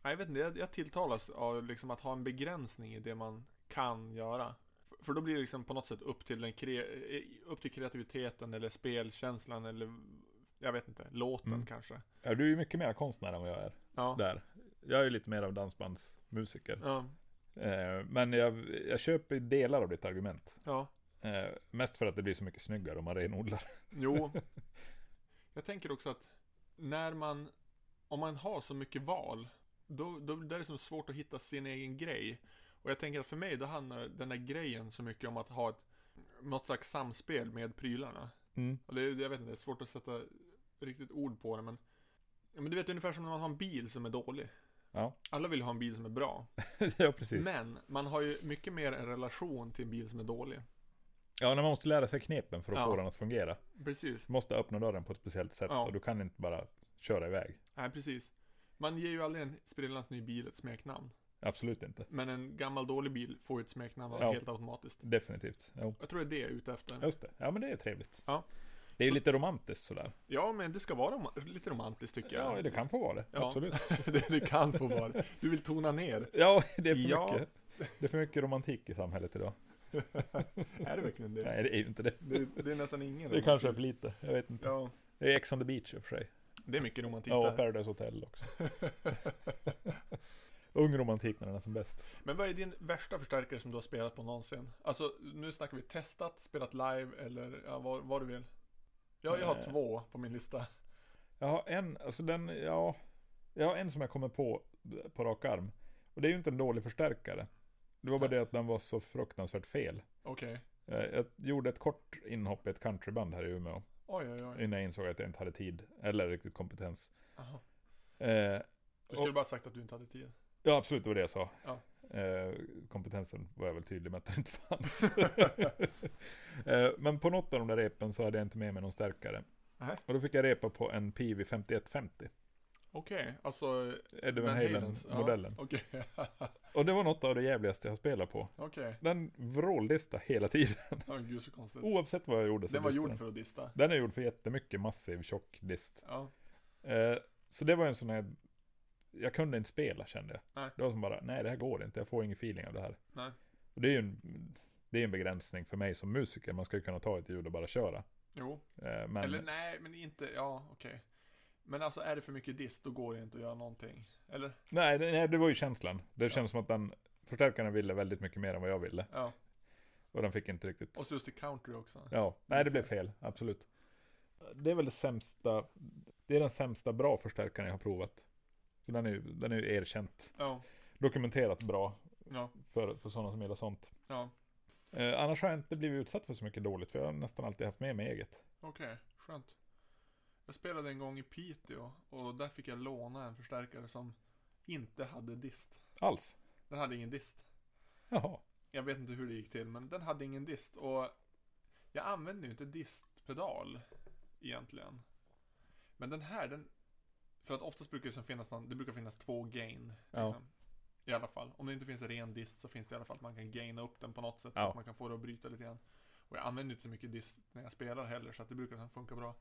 S1: nej, jag vet inte, jag, jag tilltalas av liksom att ha en begränsning i det man kan göra. För, för då blir det liksom på något sätt upp till, den kre- eh, upp till kreativiteten eller spelkänslan eller jag vet inte, låten
S2: Mm.
S1: kanske.
S2: Ja, du är ju mycket mer konstnär än vad jag är.
S1: Ja.
S2: Där. Jag är ju lite mer av dansbandsmusiker.
S1: Ja,
S2: Eh, men jag, jag köper delar av ditt argument.
S1: ja,
S2: Eh, mest för att det blir så mycket snyggare om man renodlar.
S1: jo. Jag tänker också att när man, om man har så mycket val, då, då det är det som svårt att hitta sin egen grej. Och jag tänker att för mig, då handlar den där grejen så mycket om att ha ett, något slags samspel med prylarna. Och det, är- jag vet inte, det är svårt att sätta riktigt ord på det men ja, men du vet ungefär som när man har en bil som är dålig.
S2: Ja.
S1: Alla vill ju ha en bil som är bra.
S2: ja, precis.
S1: Men man har ju mycket mer en relation till en bil som är dålig.
S2: Ja, när man måste lära sig knepen för att
S1: Ja.
S2: få den att fungera.
S1: Precis.
S2: Du måste öppna dörren på ett speciellt sätt
S1: Ja.
S2: och du kan inte bara köra iväg.
S1: Nej, precis. Man ger ju aldrig en sprillans ny bil ett smeknamn.
S2: Absolut inte.
S1: Men en gammal dålig bil får ju ett smeknamn
S2: Ja.
S1: helt automatiskt.
S2: Definitivt. Jo.
S1: Jag tror det är det jag är ute efter.
S2: Just det. Ja, men det är trevligt.
S1: Ja.
S2: Det är ju
S1: Så-
S2: lite romantiskt sådär.
S1: Ja, men det ska vara rom- lite romantiskt tycker jag.
S2: Ja, det kan få vara det.
S1: Ja.
S2: Absolut.
S1: det, det kan få vara det. Du vill tona ner.
S2: Ja, det är, för
S1: Ja.
S2: Mycket, det är för mycket romantik i samhället idag.
S1: Är det verkligen
S2: Nej, det är ju inte det.
S1: Det, är nästan ingen.
S2: Det kanske är för lite. Jag vet inte.
S1: Ja.
S2: Det är Ex on the Beach i och för sig.
S1: Det är mycket romantik
S2: Ja, och
S1: där.
S2: Paradise Hotel också. Ung romantik när den är som bäst.
S1: Men vad är din värsta förstärkare som du har spelat på någonsin? Alltså, nu snackar vi testat, spelat live eller ja, vad, vad du vill. Jag, jag har
S2: Eh.
S1: två på min lista.
S2: Jag har en, alltså den, ja. Jag har en som jag kommer på på rak arm. Och det är ju inte en dålig förstärkare. Det var bara det att den var så fruktansvärt fel.
S1: Okej.
S2: Eh, Jag gjorde ett kort inhopp i ett countryband här i Umeå.
S1: Oj, oj, oj.
S2: Innan jag insåg att jag inte hade tid eller riktigt kompetens.
S1: Aha.
S2: Eh,
S1: Du skulle
S2: Och-
S1: bara sagt att du inte hade tid.
S2: Ja, absolut, det var det jag sa.
S1: Ja.
S2: Eh, kompetensen var jag väl tydlig med att den inte fanns. eh, men på något av de där repen så hade jag inte med mig någon stärkare.
S1: Nej.
S2: Och då fick jag repa på en PV 5150.
S1: Okej, alltså
S2: Eddie Van
S1: Halens, ja.
S2: Halen-modellen.
S1: Okej,
S2: Och det var något av det jävligaste jag spelat på.
S1: okej.
S2: Den vrållista hela tiden.
S1: Ja, gud så konstigt.
S2: Oavsett vad jag gjorde Oh, så
S1: Den var
S2: distade
S1: gjord
S2: den.
S1: för att dista.
S2: Den är gjord för jättemycket massiv tjock dist.
S1: Ja,
S2: Eh, så det var en sån här... Jag kunde inte spela kände jag.
S1: Nej.
S2: Det var som bara, nej det här går inte, jag får ingen feeling av det här.
S1: Nej.
S2: Och det är ju en, det är en begränsning för mig som musiker, man ska ju kunna ta ett ljud och bara köra.
S1: jo.
S2: Eh, men
S1: Eller nej, men inte, ja okej. Men alltså är det för mycket dist, då går det inte att göra någonting. Eller?
S2: nej, det- nej, det var ju känslan. Det känns som att den förstärkaren ville väldigt mycket mer än vad jag ville.
S1: Ja.
S2: Och den fick inte riktigt...
S1: Och så just det country också.
S2: Ja, nej det blev fel, absolut. Det är väl det sämsta, det är den sämsta bra förstärkaren jag har provat. Så den är ju, den är ju erkänt,
S1: Ja,
S2: dokumenterat bra
S1: ja,
S2: för, för sådana som gillar sånt.
S1: ja.
S2: Eh, annars har jag inte blivit utsatt för så mycket dåligt, för jag har nästan alltid haft med mig eget.
S1: Okej, skönt. Jag spelade en gång i Piteå och där fick jag låna en förstärkare som inte hade dist.
S2: Alls.
S1: Den hade ingen dist.
S2: Jaha.
S1: Jag vet inte hur det gick till, men den hade ingen dist och jag använder ju inte distpedal egentligen. Men den här, den... För att oftast brukar det som finnas någon, det brukar finnas två gain.
S2: Ja.
S1: Liksom, I alla fall. Om det inte finns en ren dist så finns det i alla fall att man kan gaina upp den på något sätt så
S2: Ja.
S1: att man kan få det att bryta lite grann. Och jag använder inte så mycket dist när jag spelar heller så att det brukar som funka bra.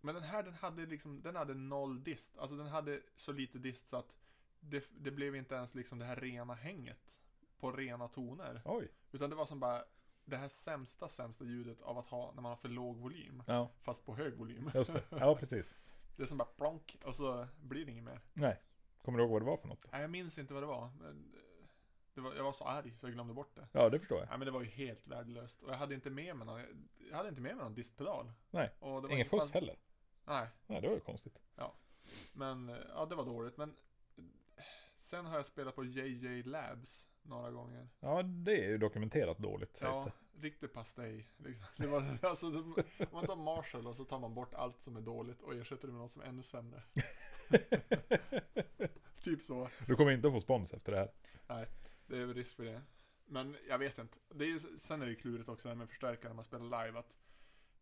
S1: Men den här den hade liksom, den hade noll dist. Alltså den hade så lite dist så att det, det blev inte ens liksom det här rena hänget på rena toner.
S2: Oj.
S1: Utan det var som bara det här sämsta, sämsta ljudet av att ha när man har för låg volym.
S2: Ja,
S1: Fast på hög volym.
S2: just det. Ja, precis.
S1: Det är som bara plonk och så blir det inget mer.
S2: Nej. Kommer du ihåg vad det var för något?
S1: Nej, jag minns inte vad det var. Men eh, det var jag var så arg så jag glömde bort det.
S2: Ja, det förstår jag.
S1: Nej, men det var ju helt värdelöst. Och jag hade inte med mig någon, jag hade inte med mig någon distpedal.
S2: Nej,
S1: Och det var
S2: Ingen
S1: inte fan-
S2: fuss heller.
S1: Nej,
S2: Nej, det var ju konstigt.
S1: men eh, ja, det var dåligt. Men eh, sen har jag spelat på JJ Labs några gånger.
S2: Ja, det är ju dokumenterat dåligt, sägs
S1: Ja,
S2: det.
S1: riktig pastej. Liksom. Det var, alltså, det- om man tar Marshall och så tar man bort allt som är dåligt och ersätter det med något som är ännu sämre. typ så.
S2: Du kommer inte att få spons efter det här.
S1: Det är väl risk för det. Men jag vet inte. Det är, ju- sen är det ju klurigt också det här med förstärkare när man spelar live att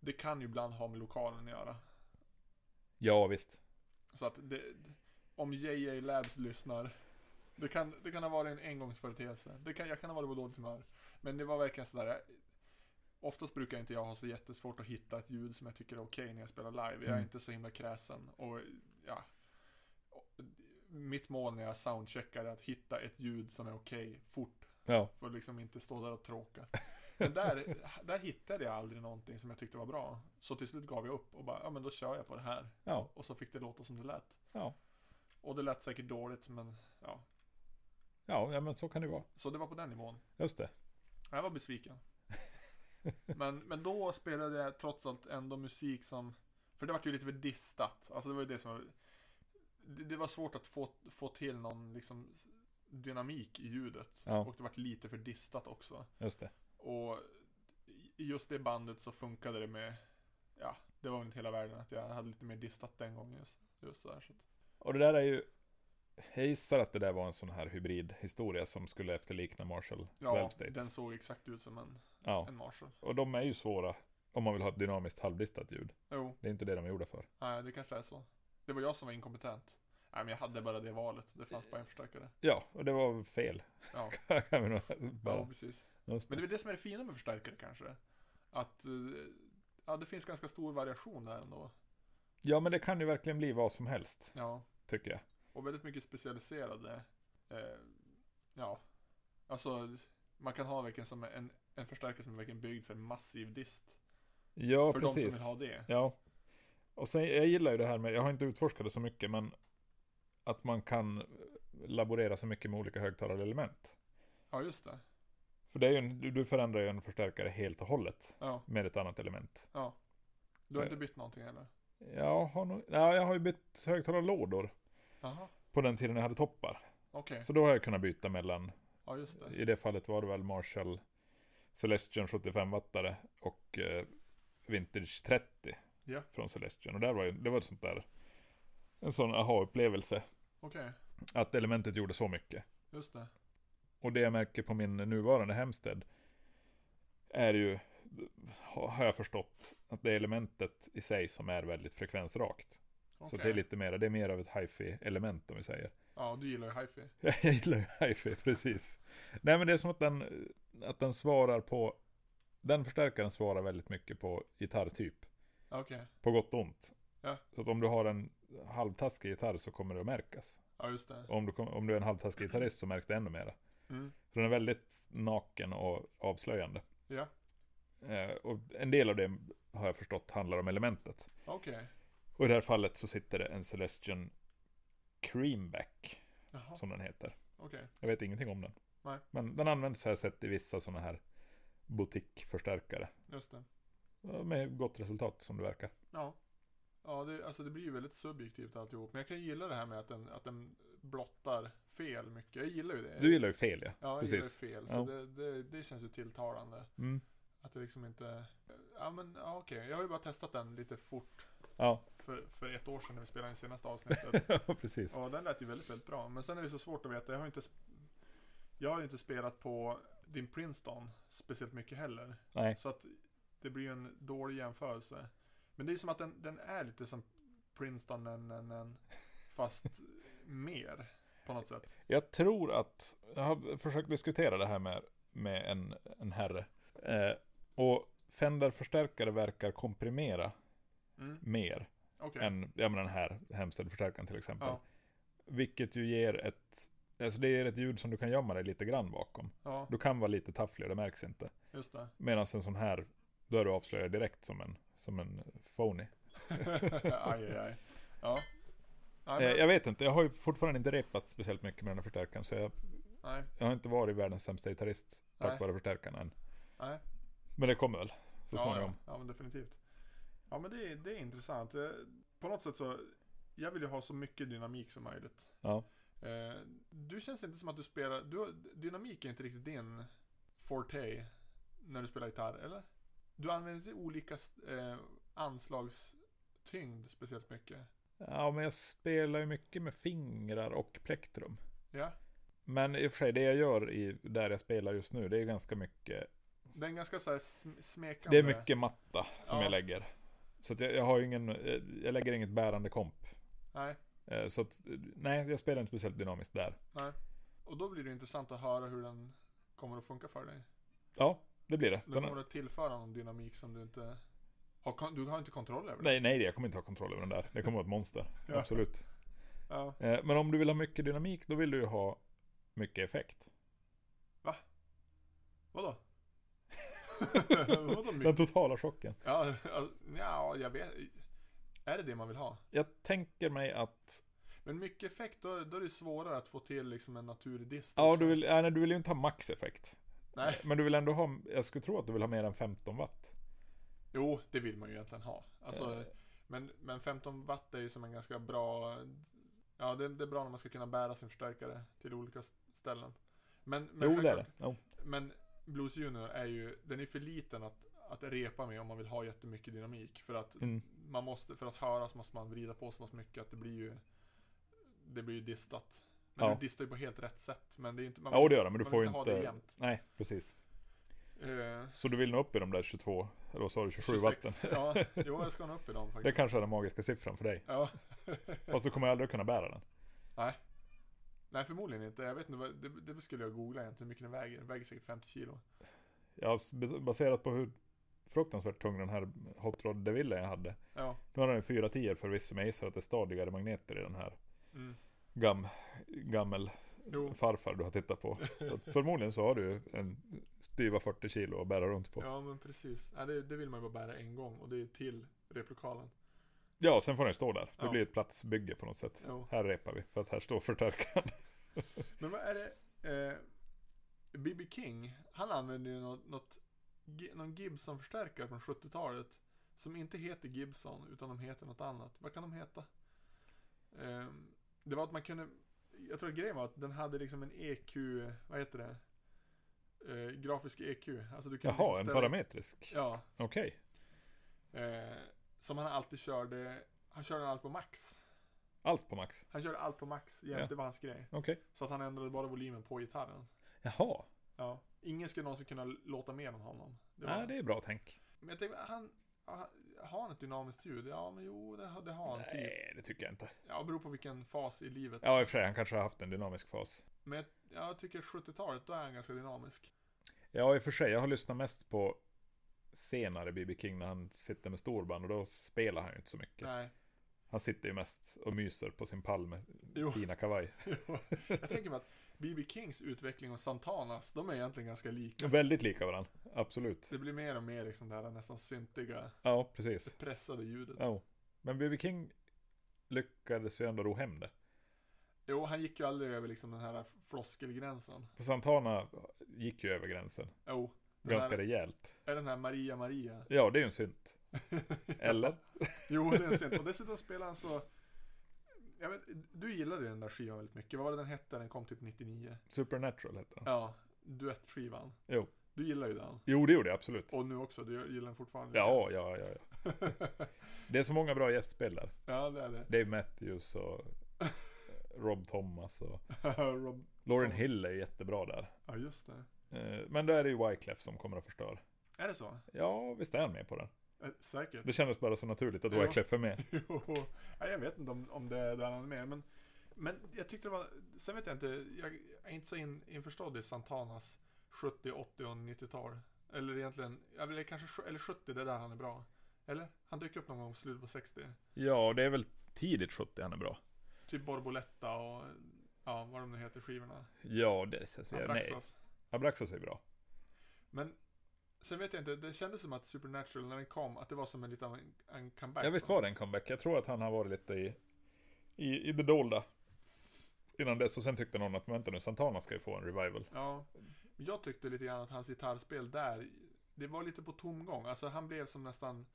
S1: det kan ju ibland ha med lokalen att göra.
S2: Ja, visst.
S1: Så att det, om JJ Labs lyssnar, det kan, det kan ha varit en engångsföreteelse. Det kan, jag kan ha varit på dåligt humör. Men det var verkligen sådär, jag, oftast brukar inte jag ha så jättesvårt att hitta ett ljud som jag tycker är okej när jag spelar live. Jag är
S2: Mm.
S1: inte så himla kräsen. Och ja, och mitt mål när jag soundcheckar är att hitta ett ljud som är okej fort.
S2: Ja,
S1: För att liksom inte stå där och tråka. Men där, där hittade jag aldrig någonting som jag tyckte var bra. Så till slut gav jag upp och bara, ja men då kör jag på det här.
S2: ja,
S1: Och så fick det låta som det lät.
S2: ja.
S1: Och det lät säkert dåligt, men ja.
S2: Ja, ja men så kan det vara.
S1: Så det var på den nivån.
S2: Just det.
S1: Jag var besviken. men, men då spelade jag trots allt ändå musik som... För det var ju lite för distat. Alltså det var ju det som var... Det, det var svårt att få, få till någon liksom dynamik i ljudet.
S2: Ja.
S1: Och det var lite för distat också.
S2: Just det.
S1: Och i- i just det bandet så funkade det med... Ja, det var väl inte hela världen att jag hade lite mer distat den gången. Just, just så här, så att,
S2: Och det där är ju... Jag gissar att det där var en sån här hybridhistoria som skulle efterlikna Marshall
S1: ja,
S2: Valve State.
S1: den såg exakt ut som en,
S2: Ja,
S1: en Marshall.
S2: och de är ju svåra om man vill ha ett dynamiskt halvdistat ljud.
S1: Jo.
S2: Det är inte det de är gjorda för.
S1: Nej, det kanske är så. Det var jag som var inkompetent. Nej, men jag hade bara det valet. Det fanns bara en förstärkare.
S2: Ja, och det var fel.
S1: Ja,
S2: Kan vi nog bara-
S1: ja precis. Men
S2: Just det.
S1: det är väl det som är det fina med förstärkare kanske. Att eh, ja, det finns ganska stor variation där ändå.
S2: Ja, men det kan ju verkligen bli vad som helst,
S1: Ja,
S2: tycker jag.
S1: och väldigt mycket specialiserade. Eh, ja, alltså man kan ha verkligen som en, en förstärkare som är verkligen byggd för en massiv dist.
S2: Ja,
S1: för de som
S2: precis.
S1: vill ha det.
S2: Ja. Och sen, jag gillar ju det här med, jag har inte utforskat det så mycket, men att man kan laborera så mycket med olika högtalarelement.
S1: Ja, just det.
S2: För det är ju en, du- du förändrar ju en förstärkare helt och hållet
S1: Ja,
S2: med ett annat element.
S1: ja. Du har inte bytt någonting eller?
S2: Jag har, nog, ja, jag har ju bytt högtalarlådor
S1: Jaha,
S2: på den tiden jag hade toppar.
S1: okej.
S2: Så då har jag kunnat byta mellan,
S1: Ja, just det.
S2: i det fallet var det väl Marshall Celestion 75-wattare och eh, Vintage 30
S1: Ja.
S2: från Celestion. Och där var ju, det var ett sånt där, en sån aha-upplevelse.
S1: Okej,
S2: Att elementet gjorde så mycket.
S1: just det.
S2: Och det jag märker på min nuvarande Hemstead är ju, har jag förstått, att det är elementet i sig som är väldigt frekvensrakt. Så
S1: Okej.
S2: det är lite mer, det är mer av ett hifi element om vi säger.
S1: Ja, du gillar ju hifi.
S2: Jag gillar ju hifi, precis. Nej men det är som att den, att den svarar på, den förstärkaren svarar väldigt mycket på gitarrtyp.
S1: Okej.
S2: På gott och ont.
S1: Ja.
S2: Så att om du har en halvtaskig gitarr så kommer det att märkas.
S1: Ja, just det.
S2: Och om, du, kom- om du är en halvtaskig gitarrist så märks det ännu mera.
S1: Mm.
S2: Så den är väldigt naken och avslöjande.
S1: Ja.
S2: Eh, och en del av det har jag förstått handlar om elementet.
S1: Okej.
S2: Och i det här fallet så sitter det en Celestion Creamback,
S1: Jaha,
S2: som den heter.
S1: okej.
S2: Jag vet ingenting om den.
S1: Nej.
S2: Men den används har jag sett i vissa sådana här butikförstärkare.
S1: Just det.
S2: Ja, Med gott resultat som det verkar.
S1: Ja. Ja, det, alltså det blir ju väldigt subjektivt alltihop. Men jag kan ju gilla det här med att den, att den blottar fel mycket. Jag gillar ju det.
S2: Du gillar ju fel ja.
S1: ja, jag
S2: precis.
S1: gillar ju fel. Så
S2: Ja.
S1: det, det, det känns ju tilltalande.
S2: Mm.
S1: Att det liksom inte... Ja, men ja, okej. Jag har ju bara testat den lite fort
S2: Ja,
S1: för, för ett år sedan när vi spelade in senaste avsnittet.
S2: precis.
S1: Ja, den lät ju väldigt, väldigt bra. Men sen är det så svårt att veta. Jag har ju inte, sp- jag har ju inte spelat på din Princeton speciellt mycket heller.
S2: Nej.
S1: Så att det blir ju en dålig jämförelse. Men det är som att den, den är lite som Princeton, men, men, men, fast mer på något sätt.
S2: Jag tror att, jag har försökt diskutera det här med, med en, en herre. Eh, och Fender-förstärkare verkar komprimera
S1: Mm,
S2: mer
S1: Okej,
S2: än ja, men den här hemställd förstärkaren till exempel.
S1: ja,
S2: Vilket ju ger ett, alltså det ger ett ljud som du kan gömma dig lite grann bakom.
S1: ja,
S2: Du kan vara lite tafflig och det märks inte.
S1: just det.
S2: Medan en sån här, då är du avslöjad direkt som en, som en phony.
S1: aj, aj, aj. Ja. Nej,
S2: Eh,
S1: men,
S2: jag vet inte, jag har ju fortfarande inte repat speciellt mycket med den här förstärkaren. Så jag,
S1: nej,
S2: jag har inte varit världens sämsta gitarrist tack
S1: Nej.
S2: vare förstärkaren än.
S1: nej.
S2: Men det kommer väl, så
S1: ja,
S2: småningom.
S1: ja, ja, men definitivt. Ja, men det, är- det är intressant. Eh, På något sätt så, jag vill ju ha så mycket dynamik som möjligt.
S2: Ja.
S1: Eh, Du känns inte som att du spelar, du, har- dynamik är inte riktigt din forte när du spelar gitarr, eller? Du använder inte olika eh, anslagstyngd speciellt mycket.
S2: Ja. men jag spelar ju mycket med fingrar och plektrum.
S1: Ja,
S2: Men i och för sig, det jag gör i, där jag spelar just nu, det är ju ganska mycket.
S1: den är ganska såhär sm- smekande.
S2: Det är mycket matta som
S1: Ja.
S2: jag lägger. Så att jag, jag har ju ingen, eh, jag lägger inget bärande komp.
S1: Nej,
S2: Eh, Så att, eh, nej, jag spelar inte speciellt dynamiskt där.
S1: och då blir det intressant att höra hur den kommer att funka för dig.
S2: Ja, det blir det.
S1: Den
S2: Den-
S1: kommer att tillföra någon dynamik som du inte har, kon- du har inte kontroll över.
S2: Nej, nej, jag kommer inte ha kontroll över den där. Det kommer vara ett monster.
S1: Ja.
S2: Absolut.
S1: Ja.
S2: Eh, Men om du vill ha mycket dynamik, då vill du ju ha mycket effekt.
S1: Vadå? Vadå
S2: Den
S1: mycket?
S2: totala chocken.
S1: Ja, alltså, ja, jag vet. Är det det man vill ha?
S2: Jag tänker mig att...
S1: Men mycket effekt, då, då är det svårare att få till liksom en naturlig dist.
S2: Ja,
S1: också.
S2: du vill, ja, nej, du vill ju inte ha max effekt.
S1: Nej,
S2: Men du vill ändå ha... Jag skulle tro att du vill ha mer än 15 watt.
S1: jo, det vill man ju egentligen ha. Alltså,
S2: Eh.
S1: men, men 15 watt är ju som en ganska bra... Ja, det, det är bra när man ska kunna bära sin förstärkare till olika s- ställen. Men, men,
S2: jo, det är det.
S1: självklart-
S2: Jo.
S1: men Blues Junior är ju, den är för liten att, att repa med om man vill ha jättemycket dynamik. För att
S2: Mm.
S1: man måste, för att höras måste man vrida på så pass mycket att det blir ju Det blir ju distat. Men
S2: Ja.
S1: du distar ju på helt rätt sätt. Men det är ju inte, man,
S2: Ja, och det gör det, men du
S1: man
S2: får
S1: vill
S2: ju
S1: inte ha det
S2: inte...
S1: jämnt.
S2: Nej, precis.
S1: Eh,
S2: Så du vill nå upp i de där 22, eller vad sa du, 27 watten?
S1: 26. Ja, jo jag ska nå upp i dem
S2: Det
S1: faktiskt.
S2: kanske är den magiska siffran för dig.
S1: Ja.
S2: Fast du kommer aldrig kunna bära den.
S1: Nej förmodligen inte. Jag vet inte, vad- det, det skulle jag googla egentligen hur mycket den väger. Den väger säkert 50 kilo.
S2: Ja, baserat på hur fruktansvärt tung den här Hot Rod DeVille jag hade.
S1: Ja.
S2: Nu har den 4 10 förvisso, men jag gissar att det är stadigare magneter i den här
S1: Mm.
S2: gam, gammel
S1: Jo.
S2: farfar du har tittat på. Så att förmodligen så har du en styva 40 kilo att bära runt på. Ja,
S1: Ja men precis. Ja, det, det vill man ju bara bära en gång och det är till replokalen.
S2: sen får den stå där. Det
S1: Ja.
S2: blir ett platsbygge på något sätt.
S1: Jo.
S2: Här repar vi, för att här står förstärkaren.
S1: Men vad är det? Eh, B.B. King, han använder ju något, något, Gi- någon Gibson-förstärkare från 70-talet. Som inte heter Gibson, utan de heter något annat. Vad kan de heta? Eh, det var att man kunde... Jag tror att grejen var att den hade liksom en EQ, vad heter det? Eh, grafisk EQ. Alltså du kunde
S2: Jaha,
S1: liksom
S2: en
S1: ställa-
S2: parametrisk.
S1: Ja.
S2: Okej.
S1: Eh, som han alltid körde, han körde allt på max.
S2: Allt på max.
S1: Han körde allt på max, jämt,
S2: Ja.
S1: det var hans grej.
S2: Okej.
S1: Så att han ändrade bara volymen på gitarren.
S2: Jaha.
S1: Ja. Ingen skulle någonsin kunna låta mer än honom. Det var...
S2: Ja, det är bra tänk.
S1: Men jag tänkte, han, ja, han, har han ett dynamiskt ljud? Ja, men jo, det, har- det har han typ.
S2: Nej, det tycker jag inte.
S1: Ja, beror på vilken fas i livet.
S2: Ja, i och för sig, han kanske har haft en dynamisk fas.
S1: Men jag, jag tycker 70-talet, då är han ganska dynamisk.
S2: Ja, i och för sig, jag har lyssnat mest på senare B.B. King när han sitter med storband och då spelar han ju inte så mycket.
S1: Nej.
S2: Han sitter ju mest och myser på sin pall med
S1: Jo.
S2: fina kavaj.
S1: jag tänker mig att B.B. Kings utveckling och Santanas, de är egentligen ganska lika.
S2: Väldigt lika varandra, absolut.
S1: Det blir mer och mer liksom det här nästan syntiga,
S2: Ja, precis.
S1: pressade ljudet.
S2: Ja. Men B.B. King lyckades ju ändå ro hem det.
S1: Jo, han gick ju aldrig över liksom den här floskelgränsen.
S2: På Santana gick ju över gränsen.
S1: Jo, den
S2: Ganska
S1: här,
S2: rejält.
S1: är den här Maria Maria.
S2: Ja, det är ju en synt. Eller?
S1: Jo, det är sent. Och dessutom spelar han så... Jag vet, du gillade ju den där skivan väldigt mycket. Vad var det den hette? Den kom typ 99.
S2: Supernatural heter den.
S1: Ja, duettskivan.
S2: Jo.
S1: Du gillar ju den.
S2: Jo, det gjorde jag absolut.
S1: Och nu också, du gillar den fortfarande.
S2: Ja, ja, ja, ja. Det är så många bra gästspel där.
S1: ja, det är det.
S2: Dave Matthews och Rob Thomas och
S1: Rob...
S2: Lauren Hill är ju jättebra där.
S1: Ja, just det.
S2: Eh, Men då är det ju Wyclef som kommer att förstöra.
S1: Är det så?
S2: Ja, visst är han med på den?
S1: Eh, Säkert.
S2: Det kändes bara så naturligt att
S1: Ja.
S2: Wyclef är med.
S1: Jo, nej, jag vet inte om, om det är där han är med. Men, men jag tyckte det var, sen vet jag inte, jag är inte så in, införstådd i Santanas 70, 80 och 90-tal. Eller egentligen, jag vill kanske, sj- eller 70, det är där han är bra. Eller? Han dyker upp någon gång i slutet på 60.
S2: Ja, det är väl tidigt 70 han är bra.
S1: Typ Borboletta och, ja, vad de nu heter, skivorna.
S2: Ja, det alltså, jag, nej.
S1: Abraxas.
S2: Abraxas är bra.
S1: Men sen vet jag inte, det kändes som att Supernatural, när den kom, att det var som en liten en comeback.
S2: Jag visst var det en comeback. Jag tror att han har varit lite i, i, i det dolda. Innan dess och sen tyckte någon att men vänta nu, Santana ska ju få en revival.
S1: Ja, men jag tyckte lite grann att hans gitarrspel där, det var lite på tomgång. Alltså han blev som nästan,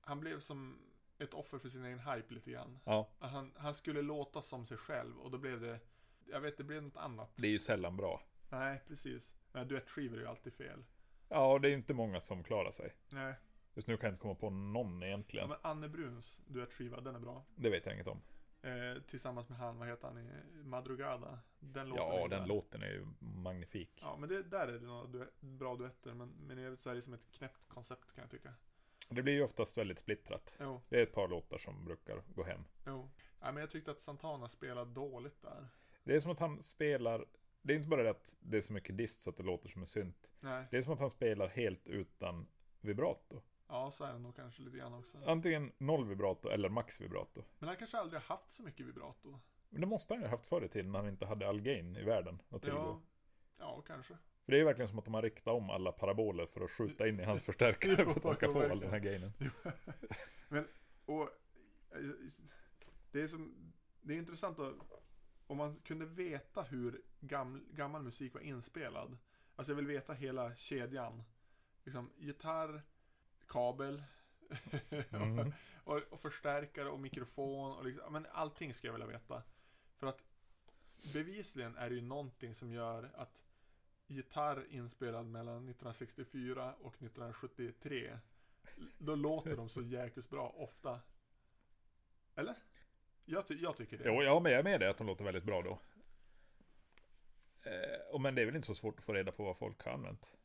S1: han blev som ett offer för sin egen hype lite grann.
S2: Ja,
S1: Att Han, han skulle låta som sig själv och då blev det, jag vet det blev något annat.
S2: det är ju sällan bra.
S1: Nej, precis. Nej, duettskivor är ju alltid fel.
S2: Ja, det är ju inte många som klarar sig.
S1: Nej.
S2: Just nu kan jag inte komma på någon
S1: Ja,
S2: egentligen.
S1: men Anne Bruns duettskiva, den är bra.
S2: Det vet jag inget om.
S1: Eh, tillsammans med han, vad heter han, i Madrugada. Den låten är
S2: Ja,
S1: ju
S2: den
S1: där.
S2: låten är ju magnifik.
S1: Ja, men det, där är det några duet, bra duetter, men, men i övrigt så är det som ett knäppt koncept kan jag tycka.
S2: Det blir ju oftast väldigt splittrat.
S1: Jo.
S2: Det är ett par låtar som brukar gå hem.
S1: Jo. Nej, men jag tyckte att Santana spelade dåligt där.
S2: Det är som att han spelar... Det är inte bara det att det är så mycket dist så att det låter som en synt.
S1: Nej,
S2: Det är som att han spelar helt utan vibrato.
S1: ja så är det nog kanske lite grann också.
S2: Antingen noll vibrato eller max vibrato.
S1: Men han kanske aldrig har haft så mycket vibrato.
S2: Men det måste han ju ha haft förr i tiden när han inte hade all gain i världen att tillgå.
S1: Ja, ja kanske.
S2: För det är ju verkligen som att de har riktat om alla paraboler för att skjuta in i hans förstärkare för att han ska
S1: Jo,
S2: få all den
S1: verkligen.
S2: här gainen.
S1: men, och det är som, det är intressant att, om man kunde veta hur gam, gammal musik var inspelad. Alltså jag vill veta hela kedjan. Liksom gitarr, kabel,
S2: Mm.
S1: och, och förstärkare och mikrofon och liksom, ja, men allting ska jag vilja veta. För att bevisligen är det ju någonting som gör att gitarr inspelad mellan 1964 och 1973, då låter de så jäkligt bra ofta. Eller? Jag, ty- jag tycker det.
S2: Jo, ja, men jag är med dig att de låter väldigt bra då. Eh, och men det är väl inte så svårt att få reda på vad folk har använt.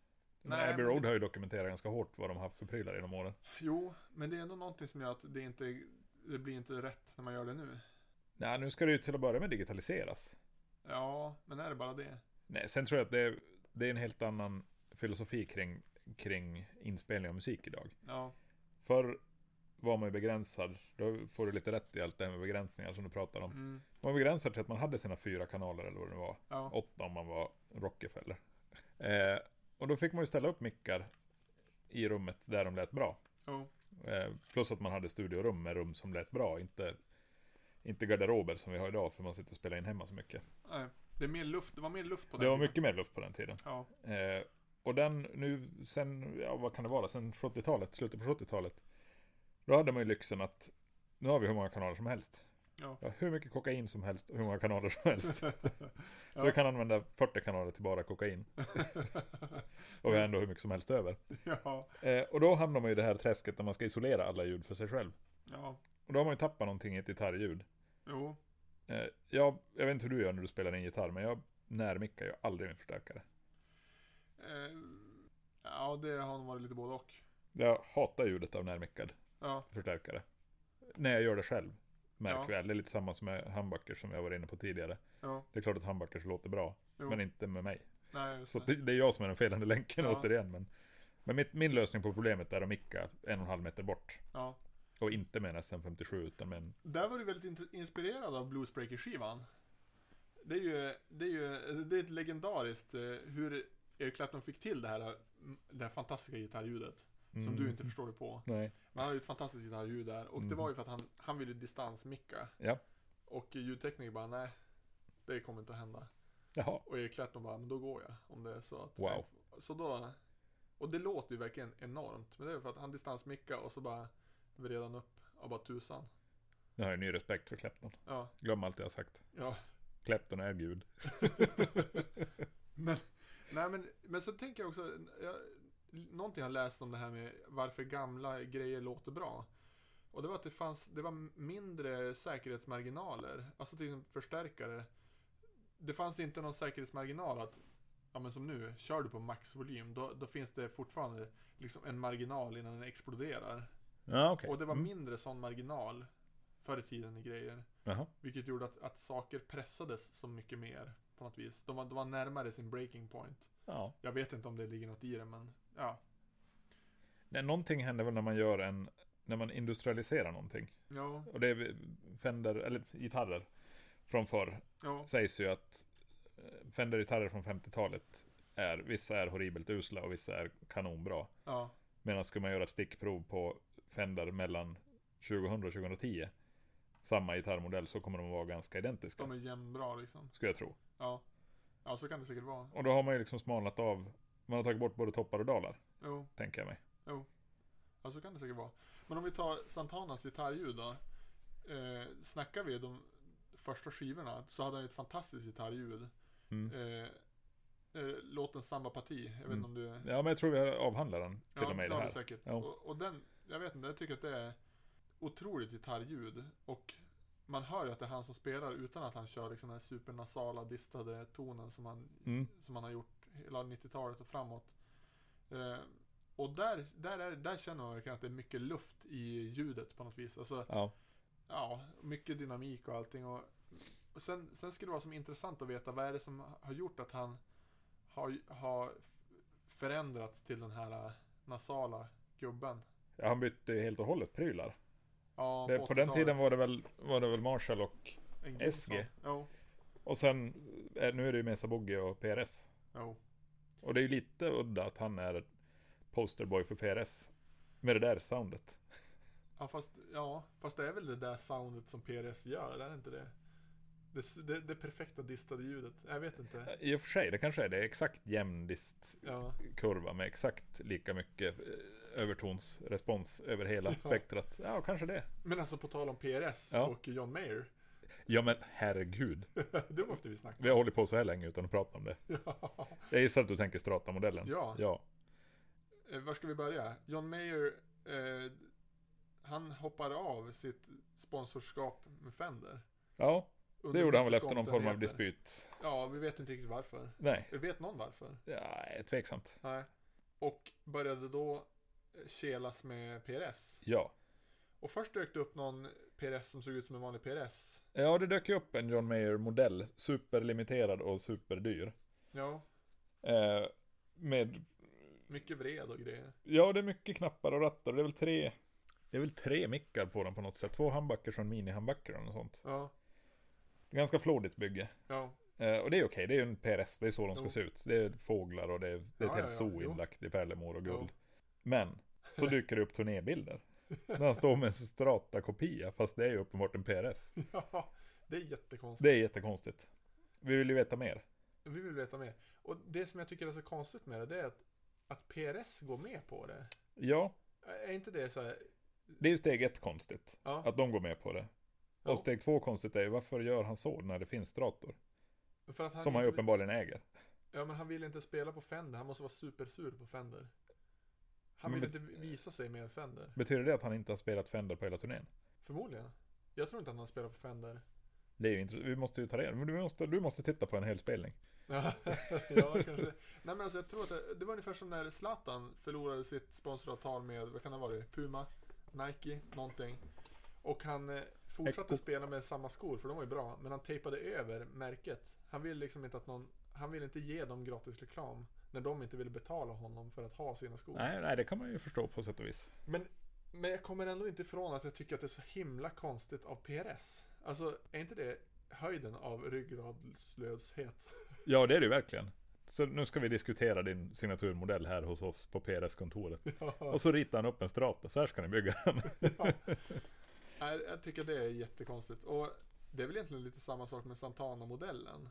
S1: Nej,
S2: Nej, Abbey
S1: men-
S2: Road har ju dokumenterat ganska hårt vad de har haft för prylar genom åren.
S1: Jo, men det är ändå någonting som gör att det inte det blir inte rätt när man gör det nu.
S2: Nej, nu ska det ju till att börja med digitaliseras.
S1: Ja, men är det bara det?
S2: Nej, sen tror jag att det är, det är en helt annan filosofi kring, kring inspelning av musik idag.
S1: Ja,
S2: Förr var man ju begränsad, då får du lite rätt i allt det här med begränsningar som du pratar om.
S1: mm,
S2: Man var begränsad till att man hade sina fyra kanaler eller vad det var.
S1: ja,
S2: Åtta om man var Rockefeller. Eh, och då fick man ju ställa upp mickar i rummet där de lät bra.
S1: jo,
S2: Eh, plus att man hade studiorum med rum som lät bra, inte, inte garderober som vi har idag för man sitter och spelar in hemma så mycket.
S1: nej. Det, är mer luft, det var mer luft på den
S2: Det var
S1: tiden.
S2: mycket mer luft på den tiden.
S1: Ja,
S2: Eh, och den nu, sen, ja vad kan det vara, sen 70-talet, slutet på 70-talet. Då hade man ju lyxen att nu har vi hur många kanaler som helst.
S1: Ja.
S2: Ja, hur mycket kokain som helst och hur många kanaler som helst. Så
S1: Ja.
S2: vi kan använda 40 kanaler till bara kokain. och
S1: Mm.
S2: vi har ändå hur mycket som helst över.
S1: ja,
S2: Eh, och då hamnar man ju i det här träsket när man ska isolera alla ljud för sig själv.
S1: ja,
S2: Och då har man ju tappat någonting i ett gitarrljud.
S1: jo.
S2: Eh, jag, jag vet inte hur du gör när du spelar in gitarr, men jag närmickar ju aldrig min förstärkare.
S1: Eh, ja, det har nog varit lite både och.
S2: Jag hatar ljudet av närmickad.
S1: Ja.
S2: förstärkare. När jag gör det själv. Märk
S1: Ja.
S2: väl, det är lite samma som med handbackers som jag var inne på tidigare.
S1: Ja.
S2: Det är klart att handbackers låter bra,
S1: Jo.
S2: men inte med mig.
S1: Nej, just
S2: Så
S1: det.
S2: att det, det är jag som är den felande länken
S1: Ja.
S2: återigen. Men, men mitt, min lösning på problemet är att micka en och en halv meter bort.
S1: Ja.
S2: Och inte med en SM57 utan med en...
S1: Där var du väldigt int- inspirerad av Bluesbreaker-skivan. Det är ju, det är ju det är ett legendariskt eh, hur Eric Clapton fick till det här, mm, det här fantastiska gitarrljudet. Som
S2: Mm.
S1: du inte förstår dig på.
S2: Nej.
S1: Men han har ju ett fantastiskt gitarrljud där. Och det
S2: Mm.
S1: var ju för att han, han ville distansmicka.
S2: Ja.
S1: Och ljudtekniker bara, nej. Det kommer inte att hända.
S2: Jaha.
S1: Och Eric Clapton bara, men då går jag. Om det är så att...
S2: Wow.
S1: Så då... Och det låter ju verkligen enormt. Men det är för att han distansmickade och så bara vred han upp av bara tusan.
S2: Nu har jag ny respekt för Clapton.
S1: Ja,
S2: Glöm allt jag har sagt.
S1: ja.
S2: Clapton är gud.
S1: Men, nej men, men så tänker jag också, jag, någonting jag läst om det här med varför gamla grejer låter bra. Och det var att det fanns, det var mindre säkerhetsmarginaler, alltså till exempel förstärkare. Det fanns inte någon säkerhetsmarginal att, ja men som nu, kör du på maxvolym, då, då finns det fortfarande liksom en marginal innan den exploderar.
S2: Ja, okej.
S1: Och det var
S2: Mm.
S1: mindre sån marginal förr i tiden i grejer.
S2: Jaha.
S1: Vilket gjorde att, att saker pressades så mycket mer på något vis. De var, de var närmare sin breaking point.
S2: Ja.
S1: Jag vet inte om det ligger något i det, men ja.
S2: Nej, någonting händer väl när man gör en... När man industrialiserar någonting.
S1: Ja,
S2: Och det är Fender, eller gitarrer. Från förr.
S1: ja,
S2: sägs ju att eh, Fender-gitarrer från 50-talet är, vissa är horribelt usla och vissa är kanonbra.
S1: ja,
S2: Medan skulle man göra ett stickprov på Fender mellan 2000 och 2010, samma gitarrmodell, så kommer de att vara ganska identiska.
S1: de är jämnbra liksom.
S2: Skulle jag tro.
S1: Ja. ja, så kan det säkert vara.
S2: Och då har man ju liksom smalnat av, man har tagit bort både toppar och dalar,
S1: Jo,
S2: tänker jag mig.
S1: ja, så kan det säkert vara. Men om vi tar Santanas gitarrljud då. Eh, snackar vi de första skivorna så hade han ju ett fantastiskt gitarrljud.
S2: Mm.
S1: Eh, eh, låten Samba Parti, jag vet inte
S2: Mm.
S1: om du
S2: Ja, men jag tror vi har avhandlat den till och med
S1: det
S2: i det
S1: har
S2: här.
S1: vi säkert.
S2: Ja.
S1: Och, och den, jag vet inte, jag tycker att det är otroligt gitarrljud. Och man hör ju att det är han som spelar utan att han kör liksom den här supernasala distade tonen som han,
S2: Mm.
S1: som han har gjort hela 90-talet och framåt. Eh, och där, där, är, där känner man verkligen att det är mycket luft i ljudet på något vis. Alltså,
S2: Ja.
S1: ja, mycket dynamik och allting. Och, och sen, sen skulle det vara som intressant att veta vad är det som har gjort att han har, har förändrats till den här eh, nasala gubben.
S2: Ja, han bytte ju helt och hållet prylar.
S1: Ja,
S2: det, på den tiden var det väl, var det väl Marshall och,
S1: en
S2: SG.
S1: Gibson. Jo,
S2: och sen, eh, nu är det ju Mesa Boogie och PRS.
S1: jo,
S2: Och det är ju lite udda att han är ett posterboy för PRS. Med det där soundet.
S1: ja, fast, ja, fast det är väl det där soundet som PRS gör, är det inte det? Det, s- det, det perfekta distade ljudet. Jag vet inte.
S2: I och för sig, det kanske är det. Exakt jämn dist-
S1: Ja,
S2: kurva med exakt lika mycket eh, övertonsrespons över hela
S1: Ja.
S2: spektrat. Ja, kanske det.
S1: men alltså på tal om PRS
S2: Ja.
S1: och John Mayer.
S2: Ja, men herregud.
S1: det måste vi snacka
S2: Vi har hållit på så här länge utan att prata om det.
S1: om.
S2: Jag gissar att du tänker Strata-modellen.
S1: ja.
S2: Ja.
S1: Eh, Var ska vi börja? John Mayer, eh, han hoppade av sitt sponsorskap med Fender.
S2: Ja, det
S1: Under
S2: gjorde han väl
S1: mystiska
S2: efter någon form av
S1: omständigheter.
S2: dispyt.
S1: Ja, vi vet inte riktigt varför.
S2: Nej,
S1: Vet någon varför?
S2: ja, tveksamt.
S1: Nej. Och började då eh, kelas med PRS.
S2: Ja.
S1: Och först dök det upp någon PRS som såg ut som en vanlig PRS.
S2: Ja, det dök ju upp en John Mayer-modell. Superlimiterad och superdyr.
S1: Ja,
S2: Eh, med,
S1: mycket vred och grejer.
S2: ja det är mycket knappar och rattar. Det är väl tre, det är väl tre mickar på den på något sätt. Två handbacker och en mini-handbacker och något sånt.
S1: Ja,
S2: Ganska flådigt bygge.
S1: ja,
S2: Eh, och det är okej, det är ju en PRS, det är så de ska
S1: Jo.
S2: se ut. Det är fåglar och det är, det är
S1: Ja,
S2: ett helt
S1: ja, ja,
S2: zoo
S1: jo.
S2: inlagt i pärlemor och guld.
S1: Jo.
S2: Men, så dyker det upp turnébilder. När han står med en Strata-kopia, fast det är ju uppenbart en PRS.
S1: ja. Det är jättekonstigt.
S2: Det är jättekonstigt. Vi vill ju veta mer.
S1: Vi vill veta mer. Och det som jag tycker är så konstigt med det, det är att, att PRS går med på det.
S2: Ja,
S1: Är inte det så här...
S2: det är ju steg ett konstigt.
S1: Ja.
S2: Att de går med på det.
S1: Ja.
S2: Och steg två konstigt är ju, varför gör han så när det finns Strator?
S1: För att han
S2: Som han ju
S1: inte,
S2: uppenbarligen äger.
S1: Ja men han vill inte spela på Fender, han måste vara supersur på Fender. Han
S2: Men
S1: vill inte visa sig med en Fender.
S2: Betyder det att han inte har spelat Fender på hela turnén?
S1: Förmodligen. Jag tror inte att han spelar på Fender.
S2: Det är ju intressant. Vi måste ju ta reda men du måste, du måste titta på en hel spelning.
S1: ja, kanske. Nej men alltså jag tror att det, det var ungefär som när Zlatan förlorade sitt sponsoravtal med, vad kan det ha varit, Puma? Nike, någonting. Och han eh, fortsatte
S2: Echo.
S1: spela med samma skor, för de var ju bra. Men han tejpade över märket. Han ville liksom inte att någon... Han ville inte ge dem gratis reklam. När de inte ville betala honom för att ha sina skor.
S2: Nej, nej, det kan man ju förstå på sätt och vis.
S1: Men, men jag kommer ändå inte ifrån att jag tycker att det är så himla konstigt av PRS. Alltså, är inte det höjden av ryggradslöshet?
S2: Ja, det är det ju verkligen. Så nu ska vi diskutera din signaturmodell här hos oss på PRS-kontoret.
S1: ja.
S2: Och så ritar han upp en strata, så här ska ni bygga den.
S1: Nej, Jag tycker det är jättekonstigt. Och det är väl egentligen lite samma sak med Santana-modellen.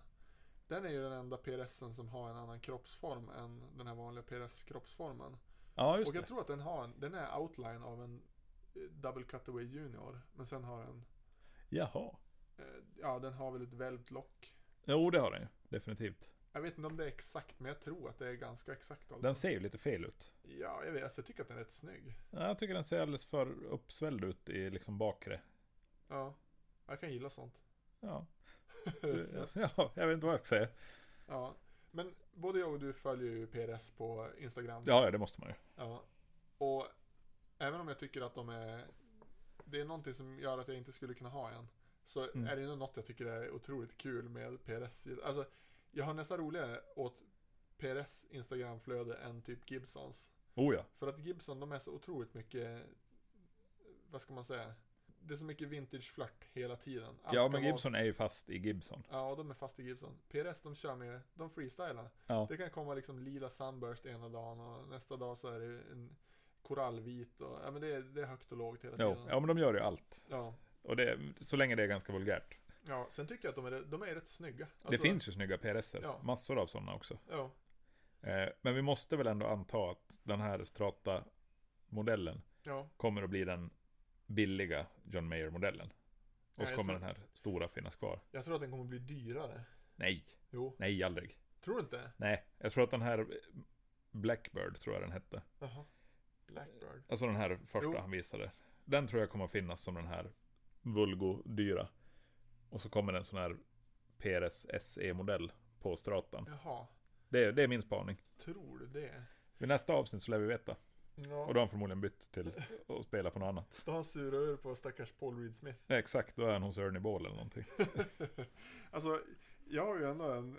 S1: Den är ju den enda PRSen som har en annan kroppsform än den här vanliga PRS-kroppsformen.
S2: Ja, just
S1: Och jag
S2: det.
S1: tror att den har en, den är outline av en eh, double cutaway junior. Men sen har den,
S2: Jaha.
S1: eh, ja den har väl ett välvt lock.
S2: Jo, det har den ju. Definitivt.
S1: Jag vet inte om det är exakt, men jag tror att det är ganska exakt alltså.
S2: Den ser ju lite fel ut.
S1: Ja, jag vet. Alltså, jag tycker att den är rätt snygg.
S2: Ja, Jag tycker den ser alldeles för uppsvälld ut i liksom bakre.
S1: Ja. Jag kan gilla sånt.
S2: Ja, du, ja, jag vet inte vad jag ska säga.
S1: ja. Men både jag och du följer ju PRS på Instagram.
S2: Ja, ja, det måste man ju.
S1: Ja. Och även om jag tycker att de är... Det är någonting som gör att jag inte skulle kunna ha en. Så
S2: Mm.
S1: är det ändå något jag tycker är otroligt kul med PRS. Alltså, jag har nästan roligare åt PRS Instagramflöde än typ Gibsons.
S2: Oh ja.
S1: För att Gibson, de är så otroligt mycket, vad ska man säga? Det är så mycket vintage-flört hela tiden. Allt ska
S2: Ja, men
S1: vara-
S2: Gibson är ju fast i Gibson.
S1: Ja, de är fast i Gibson. PRS, de kör med, de freestylar.
S2: Ja,
S1: Det kan komma liksom lila Sunburst ena dagen och nästa dag så är det en korallvit och, ja men det är, det är högt och lågt hela
S2: jo.
S1: tiden.
S2: ja men de gör ju allt.
S1: Ja.
S2: Och det, så länge det är ganska vulgärt.
S1: ja, sen tycker jag att de är, de är rätt snygga.
S2: det
S1: Alltså,
S2: finns ju snygga PRSer.
S1: Ja.
S2: Massor av sådana också.
S1: Ja,
S2: Eh, men vi måste väl ändå anta att den här Strata-modellen
S1: ja.
S2: kommer att bli den billiga John Mayer-modellen.
S1: Ja,
S2: Och så
S1: jag
S2: kommer
S1: tror-
S2: den här stora finnas kvar.
S1: Jag tror att den kommer bli dyrare.
S2: Nej,
S1: Jo,
S2: nej aldrig.
S1: tror du inte?
S2: Nej, jag tror att den här Blackbird tror jag den hette.
S1: Jaha. Blackbird.
S2: Alltså den här första
S1: Jo.
S2: han visade. Den tror jag kommer att finnas som den här vulgo-dyra. Och så kommer en sån här PRS SE-modell på Stratan.
S1: Jaha.
S2: Det, är- det är min spaning.
S1: Tror du det?
S2: Vid nästa avsnitt så lär vi veta.
S1: Ja.
S2: Och då har han förmodligen bytt till att spela på något annat.
S1: Då har han surat ur på stackars Paul Reed Smith.
S2: Exakt, då är han hos Ernie Ball eller någonting.
S1: alltså, jag har ju ändå en...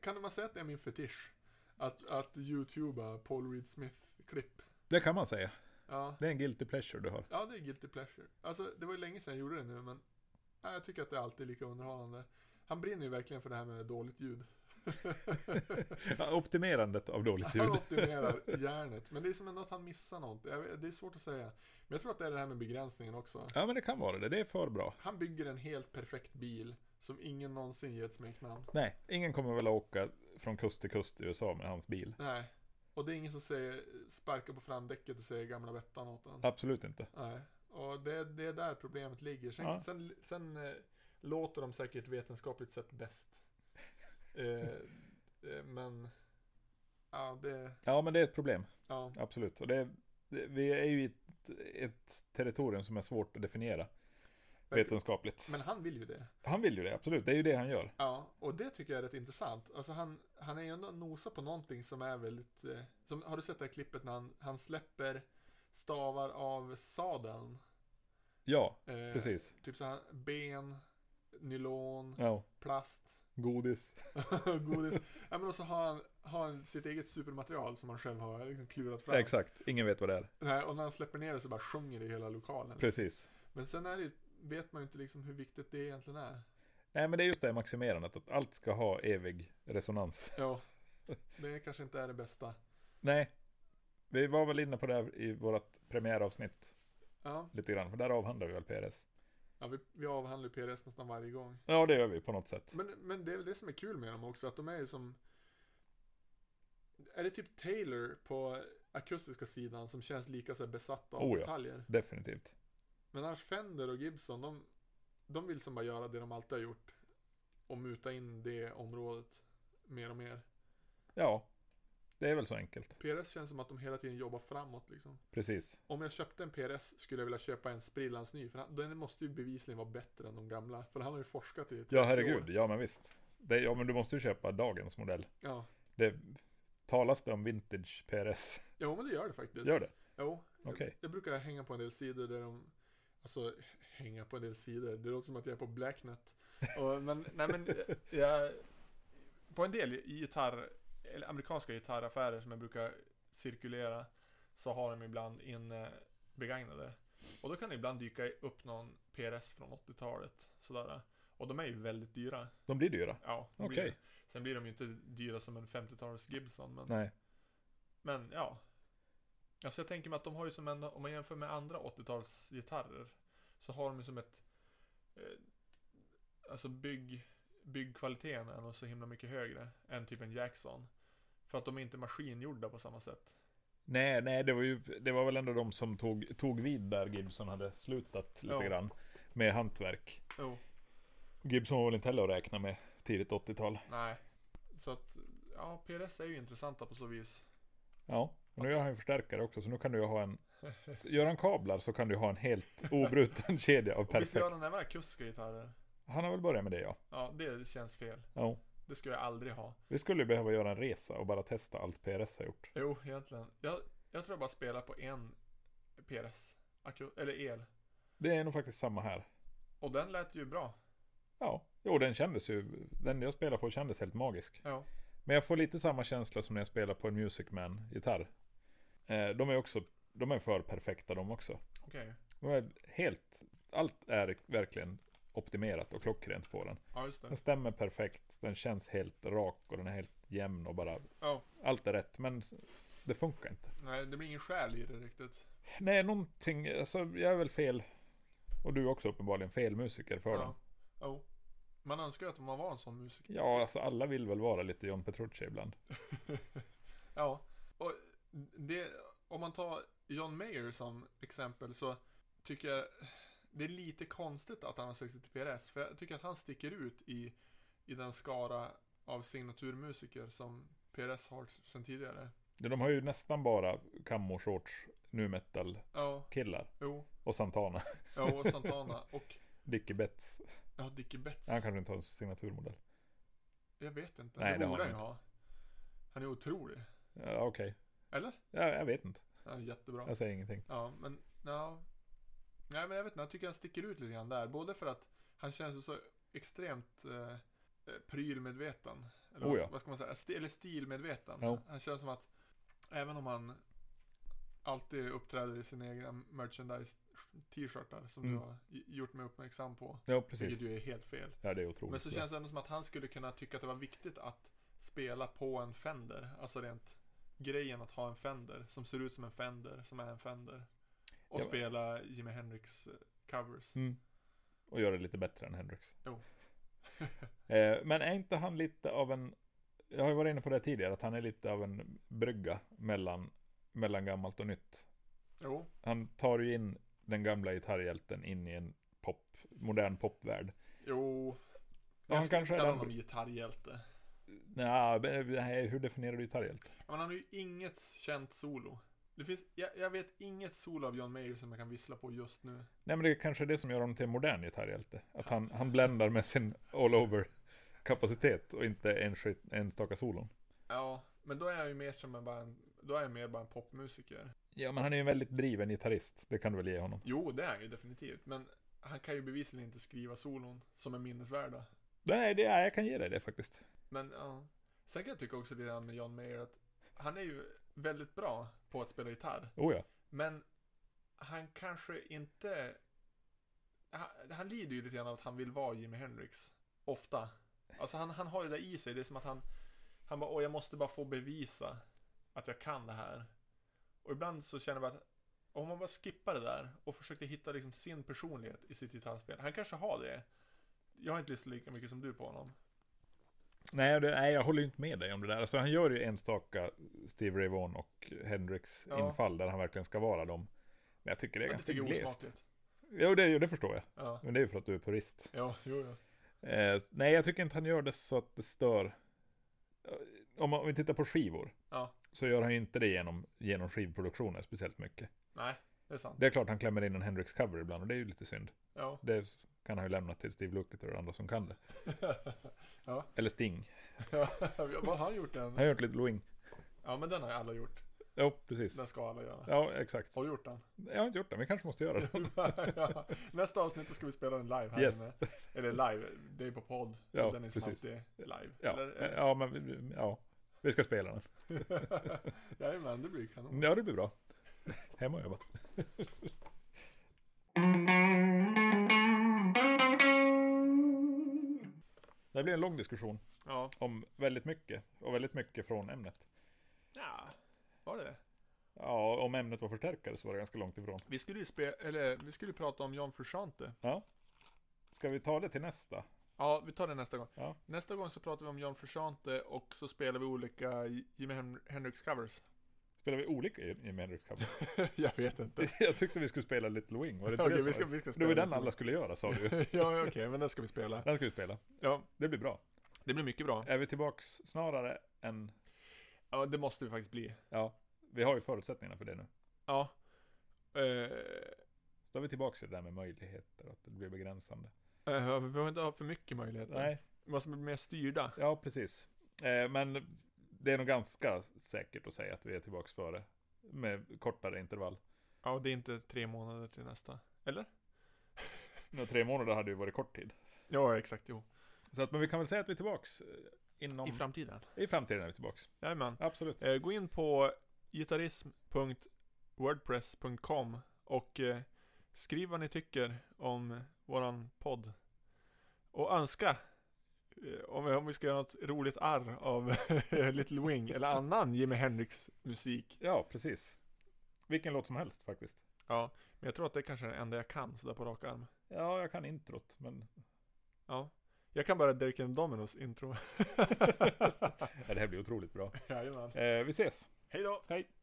S1: Kan man säga att det är min fetisch? Att, att youtuba Paul Reed Smith-klipp.
S2: Det kan man säga.
S1: Ja.
S2: Det är en guilty pleasure du har.
S1: ja, det är guilty pleasure. Alltså, det var ju länge sedan jag gjorde det nu, men nej, jag tycker att det är alltid lika underhållande. Han brinner ju verkligen för det här med dåligt ljud.
S2: Ja, Optimerandet av dåligt
S1: Han
S2: ljud.
S1: optimerar hjärnet, men det är som ändå att han missar något. Jag vet- Det är svårt att säga. Men jag tror att det är det här med begränsningen också.
S2: Ja men det kan vara det, det är för bra.
S1: Han bygger en helt perfekt bil som ingen någonsin ger ett smeknamn.
S2: Nej, ingen kommer väl att åka från kust till kust i USA med hans bil.
S1: Nej. Och det är ingen som säger, sparkar på framdäcket och säger gamla Bettan åt honom.
S2: Absolut inte.
S1: Nej. Och det, det är där problemet ligger. Sen,
S2: Ja.
S1: sen, sen eh, låter de säkert vetenskapligt sett bäst. Eh, eh, men, ja det,
S2: Ja men det är ett problem,
S1: ja.
S2: absolut. Och det är, det, vi är ju i ett, ett territorium som är svårt att definiera vetenskapligt.
S1: Men han vill ju det.
S2: Han vill ju det, absolut. Det är ju det han gör.
S1: Ja, och det tycker jag är rätt intressant. Alltså han, han är ju ändå nosar på någonting som är väldigt, eh, som, har du sett det här klippet när han, han släpper stavar av sadeln?
S2: Ja,
S1: Eh,
S2: precis.
S1: Typ så här ben, nylon,
S2: Ja.
S1: plast.
S2: Godis.
S1: Godis. Ja, men och så har han, har han sitt eget supermaterial som han själv har liksom klurat fram.
S2: Exakt, ingen vet vad det är.
S1: Nej, och när han släpper ner det så bara sjunger det i hela lokalen.
S2: Precis.
S1: Men sen är det, ju- vet man ju inte liksom hur viktigt det egentligen är.
S2: Nej men det är just det här maximerandet, att allt ska ha evig resonans.
S1: Ja, det kanske inte är det bästa.
S2: Nej, vi var väl inne på det här i vårt premiäravsnitt
S1: Ja,
S2: lite grann, för där avhandlar vi väl PRS.
S1: ja vi, vi avhandlar ju PRS nästan varje gång.
S2: Ja, det gör vi på något sätt.
S1: Men, men det är väl det som är kul med dem också, att de är ju som... Är det typ Taylor på akustiska sidan som känns lika så här besatt av
S2: Oh ja.
S1: detaljer?
S2: Definitivt.
S1: Men annars Fender och Gibson, de, de vill som bara göra det de alltid har gjort. Och muta in det området mer och mer.
S2: Ja, det är väl så enkelt.
S1: PRS känns som att de hela tiden jobbar framåt liksom.
S2: Precis.
S1: Om jag köpte en PRS skulle jag vilja köpa en sprillans ny. För han, den måste ju bevisligen vara bättre än de gamla. För han har ju forskat i 30
S2: Ja, herregud.
S1: År.
S2: Ja, men visst. Det, ja, men du måste ju köpa dagens modell.
S1: Ja.
S2: Det talas det om vintage PRS.
S1: Jo men det gör det faktiskt.
S2: Gör det?
S1: Jo, jag-
S2: Okej.
S1: jag brukar hänga på en del sidor där de... Alltså, hänga på en del sidor. Det låter som att jag är på Blacknet. Och, men, nej men, eh, jag... På en del i gitarr, eller amerikanska gitarraffärer som jag brukar cirkulera, så har de ibland inne begagnade. Och då kan det ibland dyka upp någon PRS från 80-talet, sådär. Och de är ju väldigt dyra.
S2: De blir dyra.
S1: Ja, det blir
S2: Okej.
S1: det. Sen blir de ju inte dyra som en 50-tals Gibson, men...
S2: Nej.
S1: Men ja. Alltså jag tänker mig att de har ju som en, om man jämför med andra 80-talsgitarrer. Så har de ju som ett, eh, alltså bygg, byggkvaliteten är nog så himla mycket högre än typ en Jackson. För att de är inte maskingjorda på samma sätt.
S2: Nej, nej det, var ju, det var väl ändå de som tog, tog vid där Gibson hade slutat lite
S1: Ja.
S2: grann. Med hantverk.
S1: Jo.
S2: Gibson var väl inte heller att räkna med tidigt 80-tal.
S1: Nej. Så att, ja, PRS är ju intressanta på så vis.
S2: Ja, och nu har jag en förstärkare också så nu kan du ju ha en... Gör han kablar så kan du ha en helt obruten kedja av
S1: Och visst gör
S2: perfekt.
S1: den även akustiska gitarrer?
S2: Han har väl börjat med det ja.
S1: Ja, det känns fel.
S2: ja.
S1: Det skulle jag aldrig ha.
S2: Vi skulle ju behöva göra en resa och bara testa allt PRS har gjort.
S1: Jo, egentligen. Jag, jag tror jag bara spelar på en PRS. Aku- eller el.
S2: Det är nog faktiskt samma här.
S1: Och den lät ju bra.
S2: Ja, jo den kändes ju, den jag spelar på kändes helt magisk.
S1: Ja.
S2: Men jag får lite samma känsla som när jag spelar på en Music Man-gitarr. Eh, de är också, de är för perfekta de också.
S1: Okej.
S2: De är helt, allt är verkligen optimerat och klockrent på den.
S1: Ja, just det.
S2: Den stämmer perfekt, den känns helt rak och den är helt jämn och bara,
S1: Ja.
S2: allt är rätt men s- det funkar inte.
S1: Nej, det blir ingen själ i det riktigt.
S2: Nej, någonting, alltså jag är väl fel, och du är också uppenbarligen fel musiker för den.
S1: Ja. Jo. Man önskar ju att man var en sån musiker.
S2: Ja, alltså alla vill väl vara lite John Petrucci ibland.
S1: Ja. Och det, om man tar John Mayer som exempel så tycker jag det är lite konstigt att han har sökt sig till PRS. För jag tycker att han sticker ut i, i den skara av signaturmusiker som PRS har sedan tidigare.
S2: Ja, De har ju nästan bara kammo-shorts, nu metal-killar.
S1: Ja, jo,
S2: Och Santana.
S1: ja och Santana och
S2: Dickie Betts.
S1: ja, Dickie Betts.
S2: Han kanske inte har en signaturmodell.
S1: Jag vet inte.
S2: Nej,
S1: det
S2: det
S1: borde
S2: har
S1: han ju ha. Han är otrolig.
S2: Ja, okej.
S1: Eller?
S2: Ja, jag vet inte.
S1: Han är jättebra.
S2: Jag säger ingenting.
S1: Ja, men ja. Nej, men jag vet inte. Jag tycker han sticker ut lite grann där. Både för att han känns ju så extremt eh, eh, prylmedveten. Eller
S2: Oh
S1: vad-
S2: ja.
S1: vad ska man säga? Sti- eller stilmedveten.
S2: Jo.
S1: Han känns som att även om han alltid uppträder i sina egna merchandise t-shirtar som
S2: Mm.
S1: du har i- gjort mig uppmärksam på.
S2: Ja,
S1: Vilket
S2: precis.
S1: ju är helt fel.
S2: Ja, det är otroligt.
S1: Men så
S2: bra.
S1: känns det ändå som att han skulle kunna tycka att det var viktigt att spela på en Fender. Alltså rent grejen att ha en Fender som ser ut som en Fender, som är en Fender. Och
S2: Ja, men-
S1: spela Jimi Hendrix eh, covers.
S2: Mm. Och gör det lite bättre än Hendrix.
S1: Jo.
S2: eh, men är inte han lite av en... Jag har ju varit inne på det tidigare, att han är lite av en brygga mellan, mellan gammalt och nytt.
S1: Jo,
S2: Han tar ju in den gamla gitarrhjälten in i en pop, modern popvärld.
S1: jo.
S2: Ja, han
S1: jag skulle inte
S2: kanske är
S1: kalla
S2: den-
S1: honom gitarrhjälte.
S2: Nja, men, nej, hur definierar du gitarrhjälte?
S1: Ja, Men han har ju inget känt solo. Det finns, jag, jag vet inget solo av John Mayer som jag kan vissla på just nu.
S2: Nej men det är kanske det som gör honom till en modern gitarrhjälte. Att han, han bländar med sin all over kapacitet och inte en skit- enstaka solon.
S1: Ja, men då är jag ju mer som en, bara en, då är jag mer bara en popmusiker.
S2: Ja men han är ju en väldigt driven gitarrist, det kan du väl ge honom.
S1: Jo, det är han ju definitivt. Men han kan ju bevisligen inte skriva solon som är minnesvärda.
S2: Nej, det är, jag kan ge dig det faktiskt.
S1: Men ja. Sen kan jag tycka också lite grann med John Mayer att han är ju väldigt bra på att spela gitarr.
S2: Oh ja.
S1: Men han kanske inte... Han, han lider ju lite grann av att han vill vara Jimi Hendrix. Ofta. Alltså han, han har ju det i sig. Det är som att han... Han bara, åh jag måste bara få bevisa att jag kan det här. Och ibland så känner jag att om man bara skippar det där och försökte hitta liksom sin personlighet i sitt gitarrspel. Han kanske har det. Jag har inte lyssnat lika mycket som du på honom.
S2: Nej, det, nej, jag håller ju inte med dig om det där. Alltså han gör ju enstaka Steve Ray Vaughan och Hendrix
S1: Ja.
S2: infall där han verkligen ska vara dem. Men jag tycker det är
S1: Men det
S2: ganska
S1: tycker jag är
S2: glest.
S1: osmakligt.
S2: Jo, det, det förstår jag.
S1: Ja.
S2: Men det är ju för att du är purist.
S1: Ja, jo, ja.
S2: Eh, nej, jag tycker inte han gör det så att det stör. Eh, Om, man- om vi tittar på skivor.
S1: Ja.
S2: Så gör han ju inte det genom, genom skivproduktioner speciellt mycket.
S1: Nej, det är sant.
S2: Det är klart han klämmer in en Hendrix-cover ibland och det är ju lite synd.
S1: Ja.
S2: Det kan han ju lämna till Steve Lukather och andra som kan det.
S1: Ja.
S2: Eller Sting.
S1: ja. Vad har han gjort
S2: Han har
S1: den?
S2: gjort lite Loing.
S1: Ja, men den har ju alla gjort.
S2: Jo, precis.
S1: Den ska alla göra.
S2: Ja, exakt.
S1: Har du gjort den?
S2: Jag har inte gjort det, men kanske måste göra det.
S1: Ja. Nästa avsnitt då ska vi spela den live här
S2: Yes.
S1: inne. Eller live, det är på podd. Så
S2: Ja,
S1: den är som
S2: precis.
S1: alltid live.
S2: Ja,
S1: Eller, eh,
S2: ja men vi- ja. vi ska spela den.
S1: Jajamän, det blir kanon.
S2: Ja, det blir bra. Hemma och jobba. Det här blir en lång diskussion
S1: Ja.
S2: om väldigt mycket och väldigt mycket från ämnet.
S1: ja. Var det det?
S2: Ja, om ämnet var förstärkare så var det ganska långt ifrån.
S1: Vi skulle ju spe- eller vi skulle ju prata om John Frusciante.
S2: Ska vi ta det till nästa?
S1: Ja, vi tar det nästa gång.
S2: Ja.
S1: Nästa gång så pratar vi om John Frusciante och så spelar vi olika Jimi Hen- Hendrix covers.
S2: Spelar vi olika i i Henrik cover?
S1: Jag vet inte.
S2: Jag tyckte vi skulle spela Little Wing, var det inte
S1: Okej,
S2: det
S1: vi
S2: vi
S1: ska, vi ska
S2: Det
S1: spela
S2: var den
S1: lite.
S2: alla skulle göra sa du ju.
S1: ja, okej, men den ska vi spela.
S2: Den ska vi spela.
S1: Ja,
S2: Det blir bra.
S1: det blir mycket bra.
S2: Är vi tillbaks snarare än...
S1: Ja, det måste vi faktiskt bli.
S2: Ja, vi har ju förutsättningarna för det nu.
S1: Ja. Eh,
S2: Så då är vi tillbaks till det där med möjligheter, att det blir begränsande.
S1: eh, vi behöver inte ha för mycket möjligheter.
S2: Nej,
S1: Vi måste bli mer styrda.
S2: ja precis. Eh, men det är nog ganska säkert att säga att vi är tillbaks före. Med kortare intervall.
S1: Ja, det är inte tre månader till nästa. Eller?
S2: Nu, tre månader hade ju varit kort tid.
S1: Ja, exakt. Jo.
S2: Så att, men vi kan väl säga att vi är tillbaks eh, inom...
S1: I framtiden.
S2: I framtiden är vi tillbaks.
S1: Jajamän.
S2: Absolut.
S1: Eh, gå in på gitarrism.wordpress.com och eh, skriv vad ni tycker om våran podd. Och önska eh, om vi, om vi ska göra något roligt arr av Little Wing eller annan Jimi Hendrix musik.
S2: Ja, precis. Vilken låt som helst faktiskt.
S1: Ja, men jag tror att det är kanske är det enda jag kan sådär på rak arm.
S2: Ja, jag kan introt, men...
S1: Ja. Jag kan bara Derek and Dominos intro.
S2: Ja, det här blir otroligt bra.
S1: Jajamän.
S2: Eh, vi ses!
S1: Hej då!
S2: Hej!